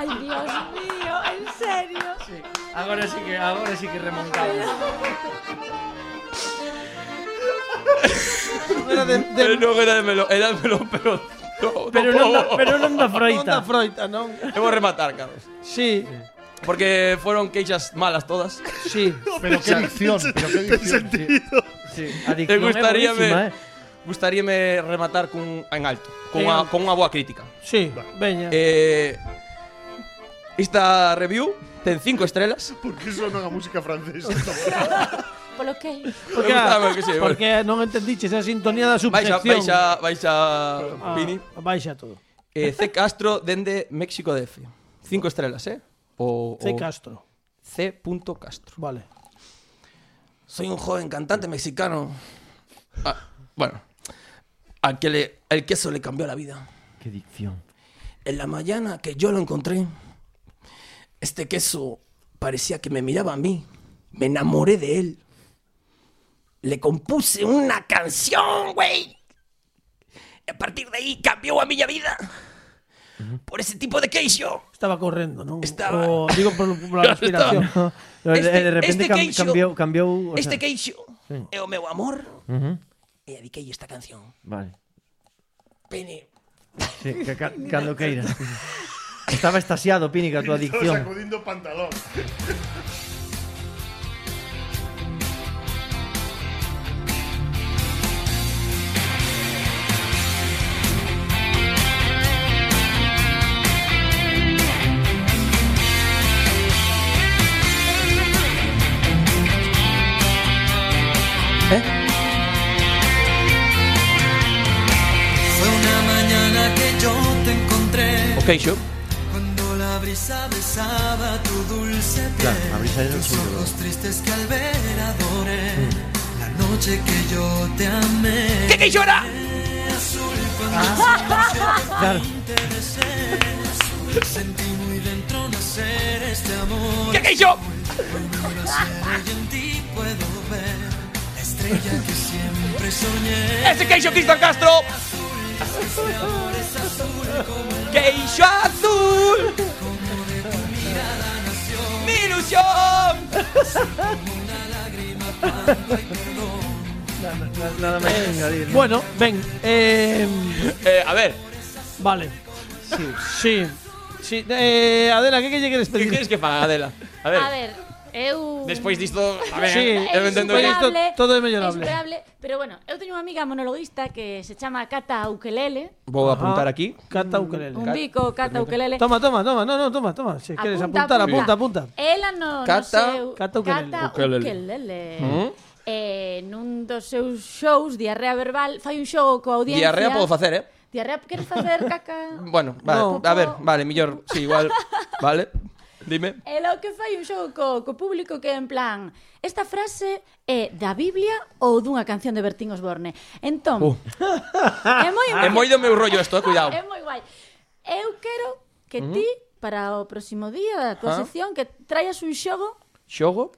Ay, Dios mío, en serio. Agora sí que, agora sí que remontamos. Era de, de Eh, non era de melón, era de melón, pero no, Pero non da, pero non da froita. Onda Froita, non? Eu vou rematar, Carlos. Sí, Porque fueron queixas malas todas. sí. Pero qué dicción, pero qué dicción. Sí, a dicción Te gustaría é buenísima, ver- eh. Gustaríame rematar cun en alto, con En unha, alto. con unha boa crítica. Sí, veña. Eh, esta review ten cinco estrelas. Porque suena a música francesa. Polo que me gustaba que sí, bueno. ah, porque non entendiches a sintonía da Vais a, vais a, subsección. vais a Pini. Ah, baixa todo. Eh, C Castro dende México DF. Cinco estrelas, eh? O, C. o Castro. C. punto Castro. Vale. Soy un joven cantante mexicano. Ah, bueno, al que le, el queso le cambió la vida. Que dicción. En la mañana que yo lo encontré, este queso parecía que me miraba a mí. Me enamoré de él. Le compuse una canción, güey. A partir de ahí cambió a mi vida. Por ese tipo de queixo. Estaba correndo, non? Estaba. O, digo por, por a respiración. No, Este- de repente este cam- queixo- cambiou, cambiou, o Este sea, queixo é o meu amor. Ujú. E dediquei esta canción. Vale. Pene. Sí, que ca cando queiras. Estaba estasiado, Pini, ca túa dicción. sacudiendo pantalón. Fue una mañana que yo te encontré O queixo. cuando la brisa besaba tu dulce piel. Claro, a brisa era el tus suyo, ojos tristes que al ver adoré. Mm. La noche que yo te amé. Que queixo era? Azul cuando Ah. Claro. te besé. Sentí muy dentro nacer este amor. Que queixo? Hoy me abrazo y en ti puedo ver la estrella que siempre soñé. Ese queixo Cristian Castro. Este amor es azul como el Queixo azul. Mi ilusión. Nada máis que engadir. ¿no? Bueno, ven. Eh, Eh, a ver, vale. Sí. Sí. sí. Eh, Adela, que, que lle queres ¿qué pedir? quieres que haga Adela? A ver. A ver, Eu... Despois disto, a ver, Sí, eu entendo despois que- disto todo é mellorable. Esperable, pero bueno, eu teño unha amiga monologuista que se chama Cata Ukelele. Vou apuntar aquí. Cata ukelele. Un bico, Cata Ukelele. Toma, toma, toma, no, no, toma, toma. Si queres Apunta, apuntar, apunta. apunta, apunta. Ela no, Cata- no seu... Cata Ukelele. Cata Ukelele. Ukelele. Mm. Eh, nun dos seus shows, Diarrea Verbal, fai un xogo coa audiencia. Diarrea podo facer, eh? Diarrea, queres facer caca? Bueno, vale, No. a ver, vale, mellor, si, sí, igual, vale. Dime. Ela o que fai un xogo co, co público que é en plan Esta frase é da Biblia ou dunha canción de Bertín Osborne Entón Uh. É moi É moi do meu rollo isto, eh, cuidado. É moi guai Eu quero que Uh-huh. ti para o próximo día da tua Ah. sección que traias un xogo Xogo?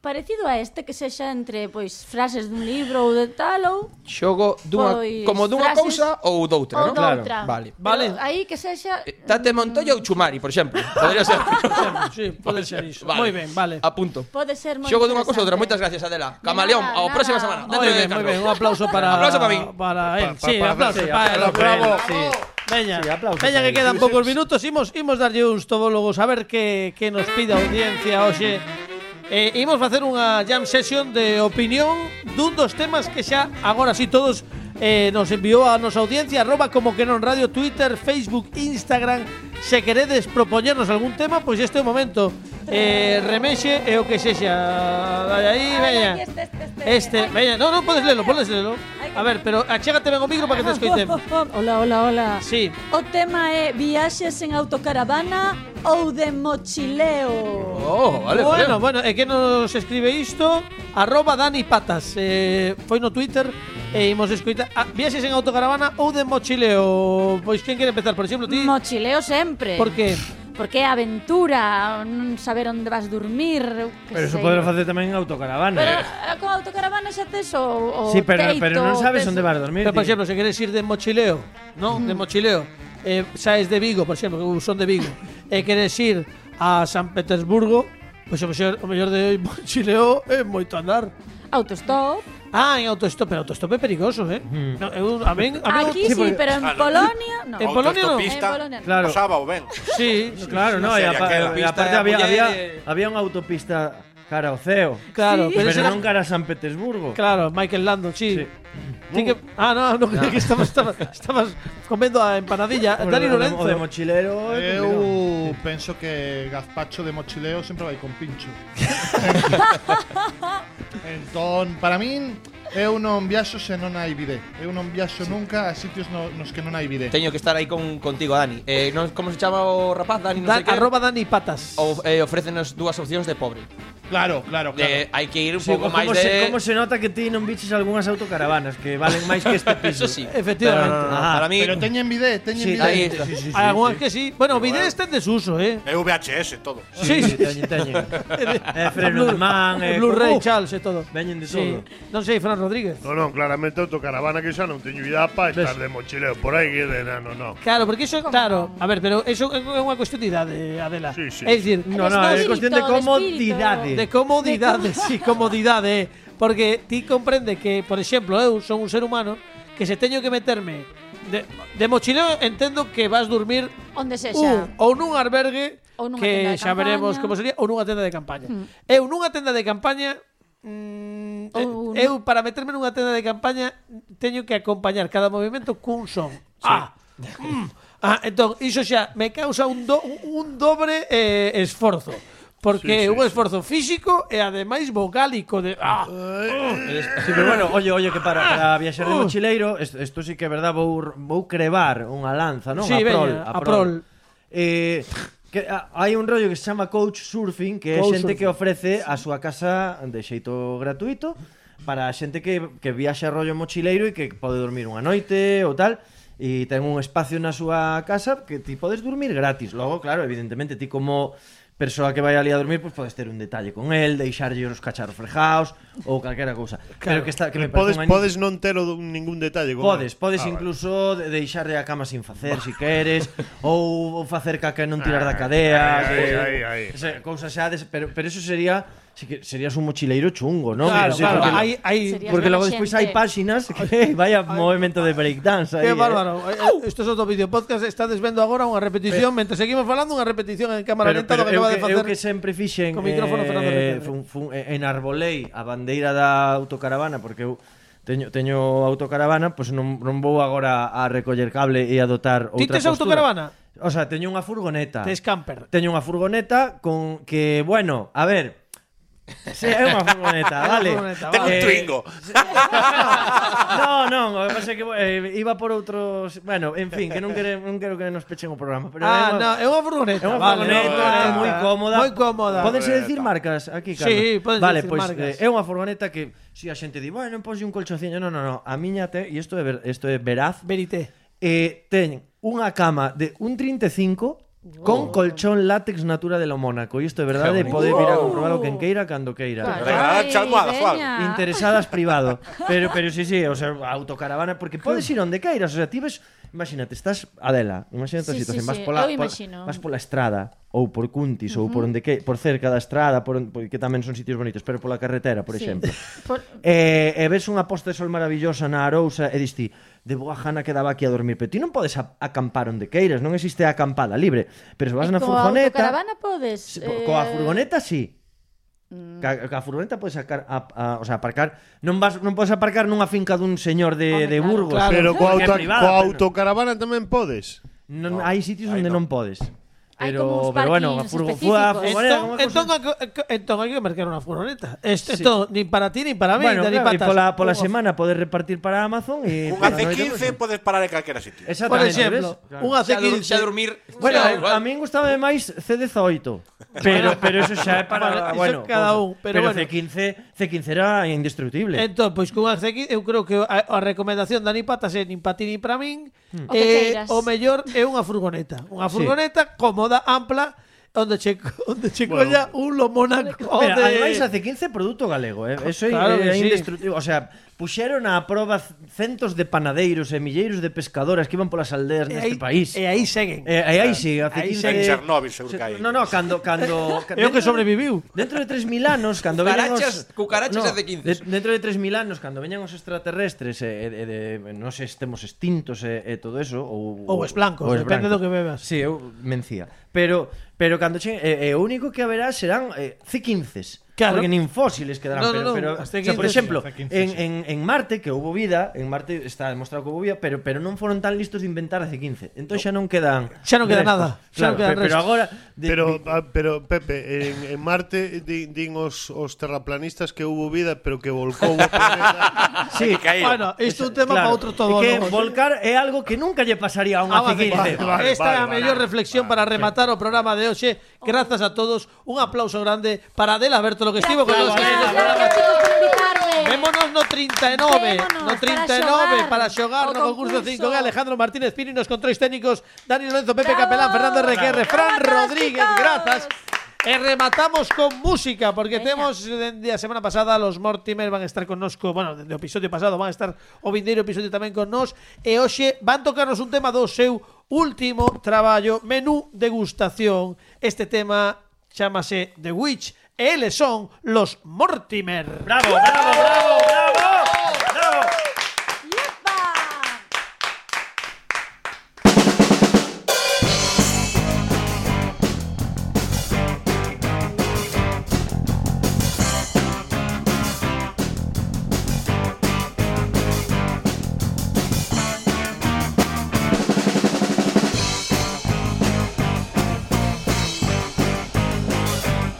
parecido a este que sexa entre pois frases dun libro ou de tal ou Xogo dunha, Pois, como dunha Pues, frases- cousa ou doutra, non? ou doutra. Vale. Eh, Vale. aí que sexa Tate Montoya ou Chumari, por exemplo. Podría ser. sí, pode ser iso. Vale. Moi ben, vale. Apunto. Pode ser moi Xogo dunha cousa ou interesante. outra. Moitas gracias, Adela. Camaleón, ao próxima semana. Moi ben, moi ben. Un aplauso para... Aplauso para min. Para él. Pa- Sí, pa- sí, aplauso para él. aplauso para Bravo. él, sí. Veña, Sí, aplauso veña para que él. quedan poucos minutos. Imos, imos darlle uns tobólogos a ver que, que nos pide a audiencia hoxe. Eh, imos facer unha jam session de opinión dun dos temas que xa agora si todos eh, nos enviou a nosa audiencia arroba como que non radio, Twitter, Facebook, Instagram se queredes propoñernos algún tema pois este é o momento eh, remexe e o que sexa Dai aí, veña este, veña, non, non, podes lelo, podes lelo a ver, pero achégate ben o micro para que te escoitemos Hola, hola, hola. Sí. O tema é viaxes en autocaravana ou de mochileo. Oh, vale, bueno, vale. bueno, é que nos escribe isto Arroba Dani Patas eh, Foi no Twitter E imos escoitar ah, Viaxes en autocaravana ou de mochileo Pois quen quere empezar, por exemplo, ti Mochileo sempre. Por que? Porque é aventura, non saber onde vas dormir, eu que Pero eso sei. podrás facer tamén en autocaravana. Pero eh, con autocaravana xa tes o, o Sí, pero- teito, pero non sabes tes- onde vas dormir, Pero, por tío. exemplo, se queres ir de mochileo Non, Mm. de mochileo eh, Saes de Vigo, por exemplo, que eu son de Vigo E queres ir a San Petersburgo Pois o mellor, o mellor de mochileo é moito andar Autostop Ah, en autostop, pero autostop é perigoso, eh? Mm. No, eu, a ben, Ah, a ben, Aquí sí, pero en Polonia non. En Polonia non. En Polonia non. Claro. Pasaba o ben. Sí, No, claro, sí, no, sí, e sí, apa- aquela. e aparte Pista, había, muller, había, eh. había unha autopista cara ao ceo. Claro, Sí. pero pero, esa- non cara a San Petersburgo. Claro, Michael Landon, sí. Ti que- ah, no, no, que estabas, estabas, estabas comendo a empanadilla. Bueno, Ah, Dani o de- Lorenzo. o de mochilero, Eh, Eu penso que gazpacho de mochileo sempre vai con pincho. entón, para min, eu non viaxo se non hai bidé. Eu non viaxo nunca a sitios no- nos que non hai bidé. Teño que estar aí con contigo, Dani. Eh, non, como se chama o rapaz, Dani, non Da- sei que. arroba Dani Patas. Oh, O, eh, ofrécenos dúas opcións de pobre. Claro, claro, claro. Eh, hai que ir un Sí, pouco máis como, se, de como se nota que ti non biches algunhas autocaravanas que valen máis que este Eso piso. sí. Efectivamente. Pero, no, no, no, Ah, para mí Pero teñen bidé, teñen Sí, bidé. ahí está. Sí, sí, sí, Hay algunas sí. que sí. Bueno, vídeos está en desuso, ¿eh? É VHS todo. Sí, sí. teñen, teñen. eh, freno Blue- de man, eh, Blu-ray, como- Charles e todo. Veñen de Sí. todo. Non sei, Fran Rodríguez. No, no, claramente autocaravana que xa non teño idea para estar de mochileo por aí que de nano, no. Claro, porque eso, claro, a ver, pero eso é unha cuestión de idade, Adela. Sí, sí. É dicir, No, no, é cuestión de comodidade. De comodidade, sí, comodidade. eh. Porque ti comprende que, por exemplo, eu son un ser humano que se teño que meterme de, de mochileo entendo que vas dormir Uh, Onde sexa. un, Uh, oh, ou nun albergue Ou nunha tenda que de xa veremos campaña. como sería ou nunha tenda de campaña. Mm. Eu nunha tenda de campaña mm, Ou eh, eu para meterme nunha tenda de campaña teño que acompañar cada movimento cun son. Ah. mm, ah, entón, iso xa me causa un do, un dobre eh, esforzo. Porque é un esforzo físico e ademais vocálico de ah, Sí, pero bueno, oye, oye, que para, para viaxar de Uh. mochileiro, isto, isto sí que é verdad, vou, vou crevar unha lanza, non? Sí, a prol, veña, a a prol. prol. Eh, que a- hai un rollo que se chama coach surfing, que é Couch xente surfing. que ofrece a súa casa de xeito gratuito para a xente que, que viaxa rollo mochileiro e que pode dormir unha noite ou tal e ten un espacio na súa casa que ti podes dormir gratis. Logo, claro, evidentemente, ti como persoa que vai ali a dormir, pois podes ter un detalle con el, deixarlle os cacharros frejaos ou calquera cousa. Pero que está que me podes, parece un podes non ter ningún detalle. con Podes, él. podes Ah, vale. incluso de- deixarlle a cama sin facer, si queres, Ah, ou, ou facer caca e non tirar da cadea, Ai, eh, que- ai, ai. esa cousa xa, des, pero, pero eso sería sí que serías un mochileiro chungo, ¿no? Claro, Sí, claro, porque, hay- hay- Serías porque buena luego después xente. hay páxinas que vaya movimento de breakdance aí. Qué eh. bárbaro. Eh, Esto es outro vídeo podcast, estades vendo agora unha repetición, mentre seguimos falando, unha repetición en cámara Pero, lenta do pero que eu, acaba que, de facer. eu que sempre fixen co micrófono Fernando eh, Requebre. fun, fun, eh, enarbolei a bandeira da autocaravana porque eu teño, teño autocaravana pois non, non vou agora a recoller cable e a dotar Ti outra tes postura. autocaravana? O sea, teño unha furgoneta Tes camper. Teño unha furgoneta con que, bueno, a ver Sí, é unha furgoneta, É unha vale. furgoneta, Ten vale. un Eh, Twingo. No, non, o que pasa é que eh, iba por outros, bueno, en fin, que non quere, non quero que nos pechen o programa, pero Ah, é unha- no, é unha furgoneta, É unha vale, furgoneta, é unha moi furgoneta. cómoda. Moi cómoda. Pódense Furgoneta. decir marcas aquí, Sí, Carlos. pódense Vale, dicir pois marcas. eh, é unha furgoneta que si a xente di, bueno, ponse un colchonciño, no, no, no, a miña te, e isto é ver, isto é veraz. Verité. Eh, ten unha cama de un 35 Con colchón látex natura de lo Mónaco E isto é verdade, Qué bonito. pode vir a Wow. comprobalo quen queira cando queira Ay, Regalada chalmoada, suave. Ah. veña. Interesadas privado Pero, pero sí, sí, o sea, autocaravana Porque podes ir onde queiras, o sea, ti ves Imagínate, estás, Adela, imagínate a Sí, sí, situación vas sí, pola, eu pola- imagino. vas pola estrada ou por Cuntis ou por onde que, por cerca da estrada, por onde, porque tamén son sitios bonitos, pero pola carretera, por Sí. exemplo. Por- E, e ves unha posta de sol maravillosa na Arousa e diste, de boa jana quedaba aquí a dormir, pero ti non podes a- acampar onde queiras, non existe a acampada libre, pero se vas na Coa furgoneta, autocaravana podes... po- coa eh, furgoneta sí. Ca, ca furgoneta podes sacar a, a, o sea, aparcar, non vas non podes aparcar nunha finca dun señor de, de Burgos, Pero coa, porque é auto, privada, coa pero- autocaravana tamén podes. Non, hai sitios onde non podes. Hai Pero, como uns pero bueno, a parkings furgo, específicos. fua, furgoneta, Entón- como entón, hai- entón hai que mercar unha furgoneta. Esto, esto ni para ti, ni para mí, bueno, ni claro, e patas. pola, pola Unha semana podes repartir para Amazon e Un AC15 podes parar en calquera sitio. Exactamente, Por exemplo, ves? Claro. un AC15. Xa dormir... Bueno, xa- a min gustaba máis C18. Pero pero eso xa é para, Vale, iso bueno, cada cosa. un, pero bueno. C15, C15 era indestructible. Entón, pois cunha C15 eu creo que a, a recomendación da Nipatas é nin para ti nin para min. Hmm. O que Eh, queiras. o mellor é unha furgoneta. Unha Sí. furgoneta cómoda, ampla, onde che, onde che Bueno. colla un lo Mónaco Mira, de... ademais hace 15 produto galego, eh. Eso é Claro que é sí. indestructible, o sea, puxeron á proba c- centos de panadeiros e milleiros de pescadoras que iban polas aldeas E neste aí- país. e Eh, aí seguen. E, e aí sigue, hace Aí 15 seguen. En Chernóbil, seguro que hai. No, no, cando cando É o que sobreviviu. Dentro de 3000 anos, cando veñan os Cucarachas- cucarachas hace 15. de- dentro de 3000 anos, cando veñan os extraterrestres e, e de non sei, estemos extintos e, e todo eso ou Ou es blancos, depende do que bebas. Si, sí, eu mencía. Pero pero cando che, e, e o único que haberá serán eh, C15s. Claro. Porque nin fósiles quedarán, No, no, pero, no, pero as o sea, por C15s, exemplo, sí, as C15s, en, sí. en, en Marte que houbo vida, en Marte está demostrado que houbo vida, pero pero non foron tan listos de inventar a C15. Entón xa non quedan Xa non queda nada, xa non Claro, quedan pe- pero restos. agora pero, ah, pero Pepe, en, en Marte di, din os, os terraplanistas que hubo vida, pero que volcou o planeta. Sí, Bueno, isto é un tema para outro todo. Ah, É que ¿no? volcar é algo que nunca lle pasaría a unha Agua que C15. pasa. Esta é a mellor reflexión para rematar o programa de hoxe. Grazas a todos, un aplauso grande para Adela Bertolo que estivo con nós. Vémonos no 39, no 39 para xogar no concurso 5 de Alejandro Martínez Pini nos controis técnicos, Dani Lorenzo, Pepe Capelán, Fernando Requerre, Fran Rodríguez, grazas. E rematamos con música porque eh, temos dende a semana pasada los Mortimer van a estar con nos co, bueno, dende o episodio pasado van a estar o vindeiro episodio tamén con nos e hoxe van tocarnos un tema do seu último traballo, menú degustación. Este tema chamase The Witch. E eles son los Mortimer. Bravo, bravo, bravo, bravo.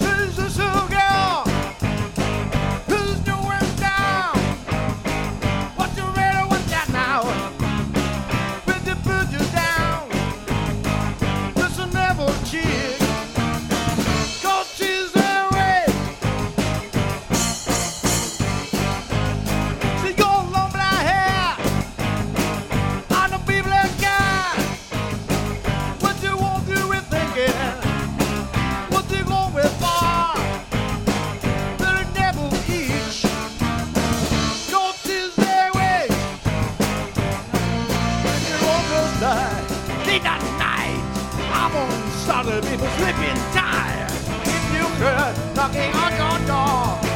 Who's the soul girl? Who's the one down? What's the red one down now? With the booger down. This a never chick. Go she's the way. She got long black hair. I'm a big black guy. What you want to be thinking? What they going for? They're never each. Go to their way. And you almost die. Late at night. I'm on started people sleeping tired. If you girl knocking on your door.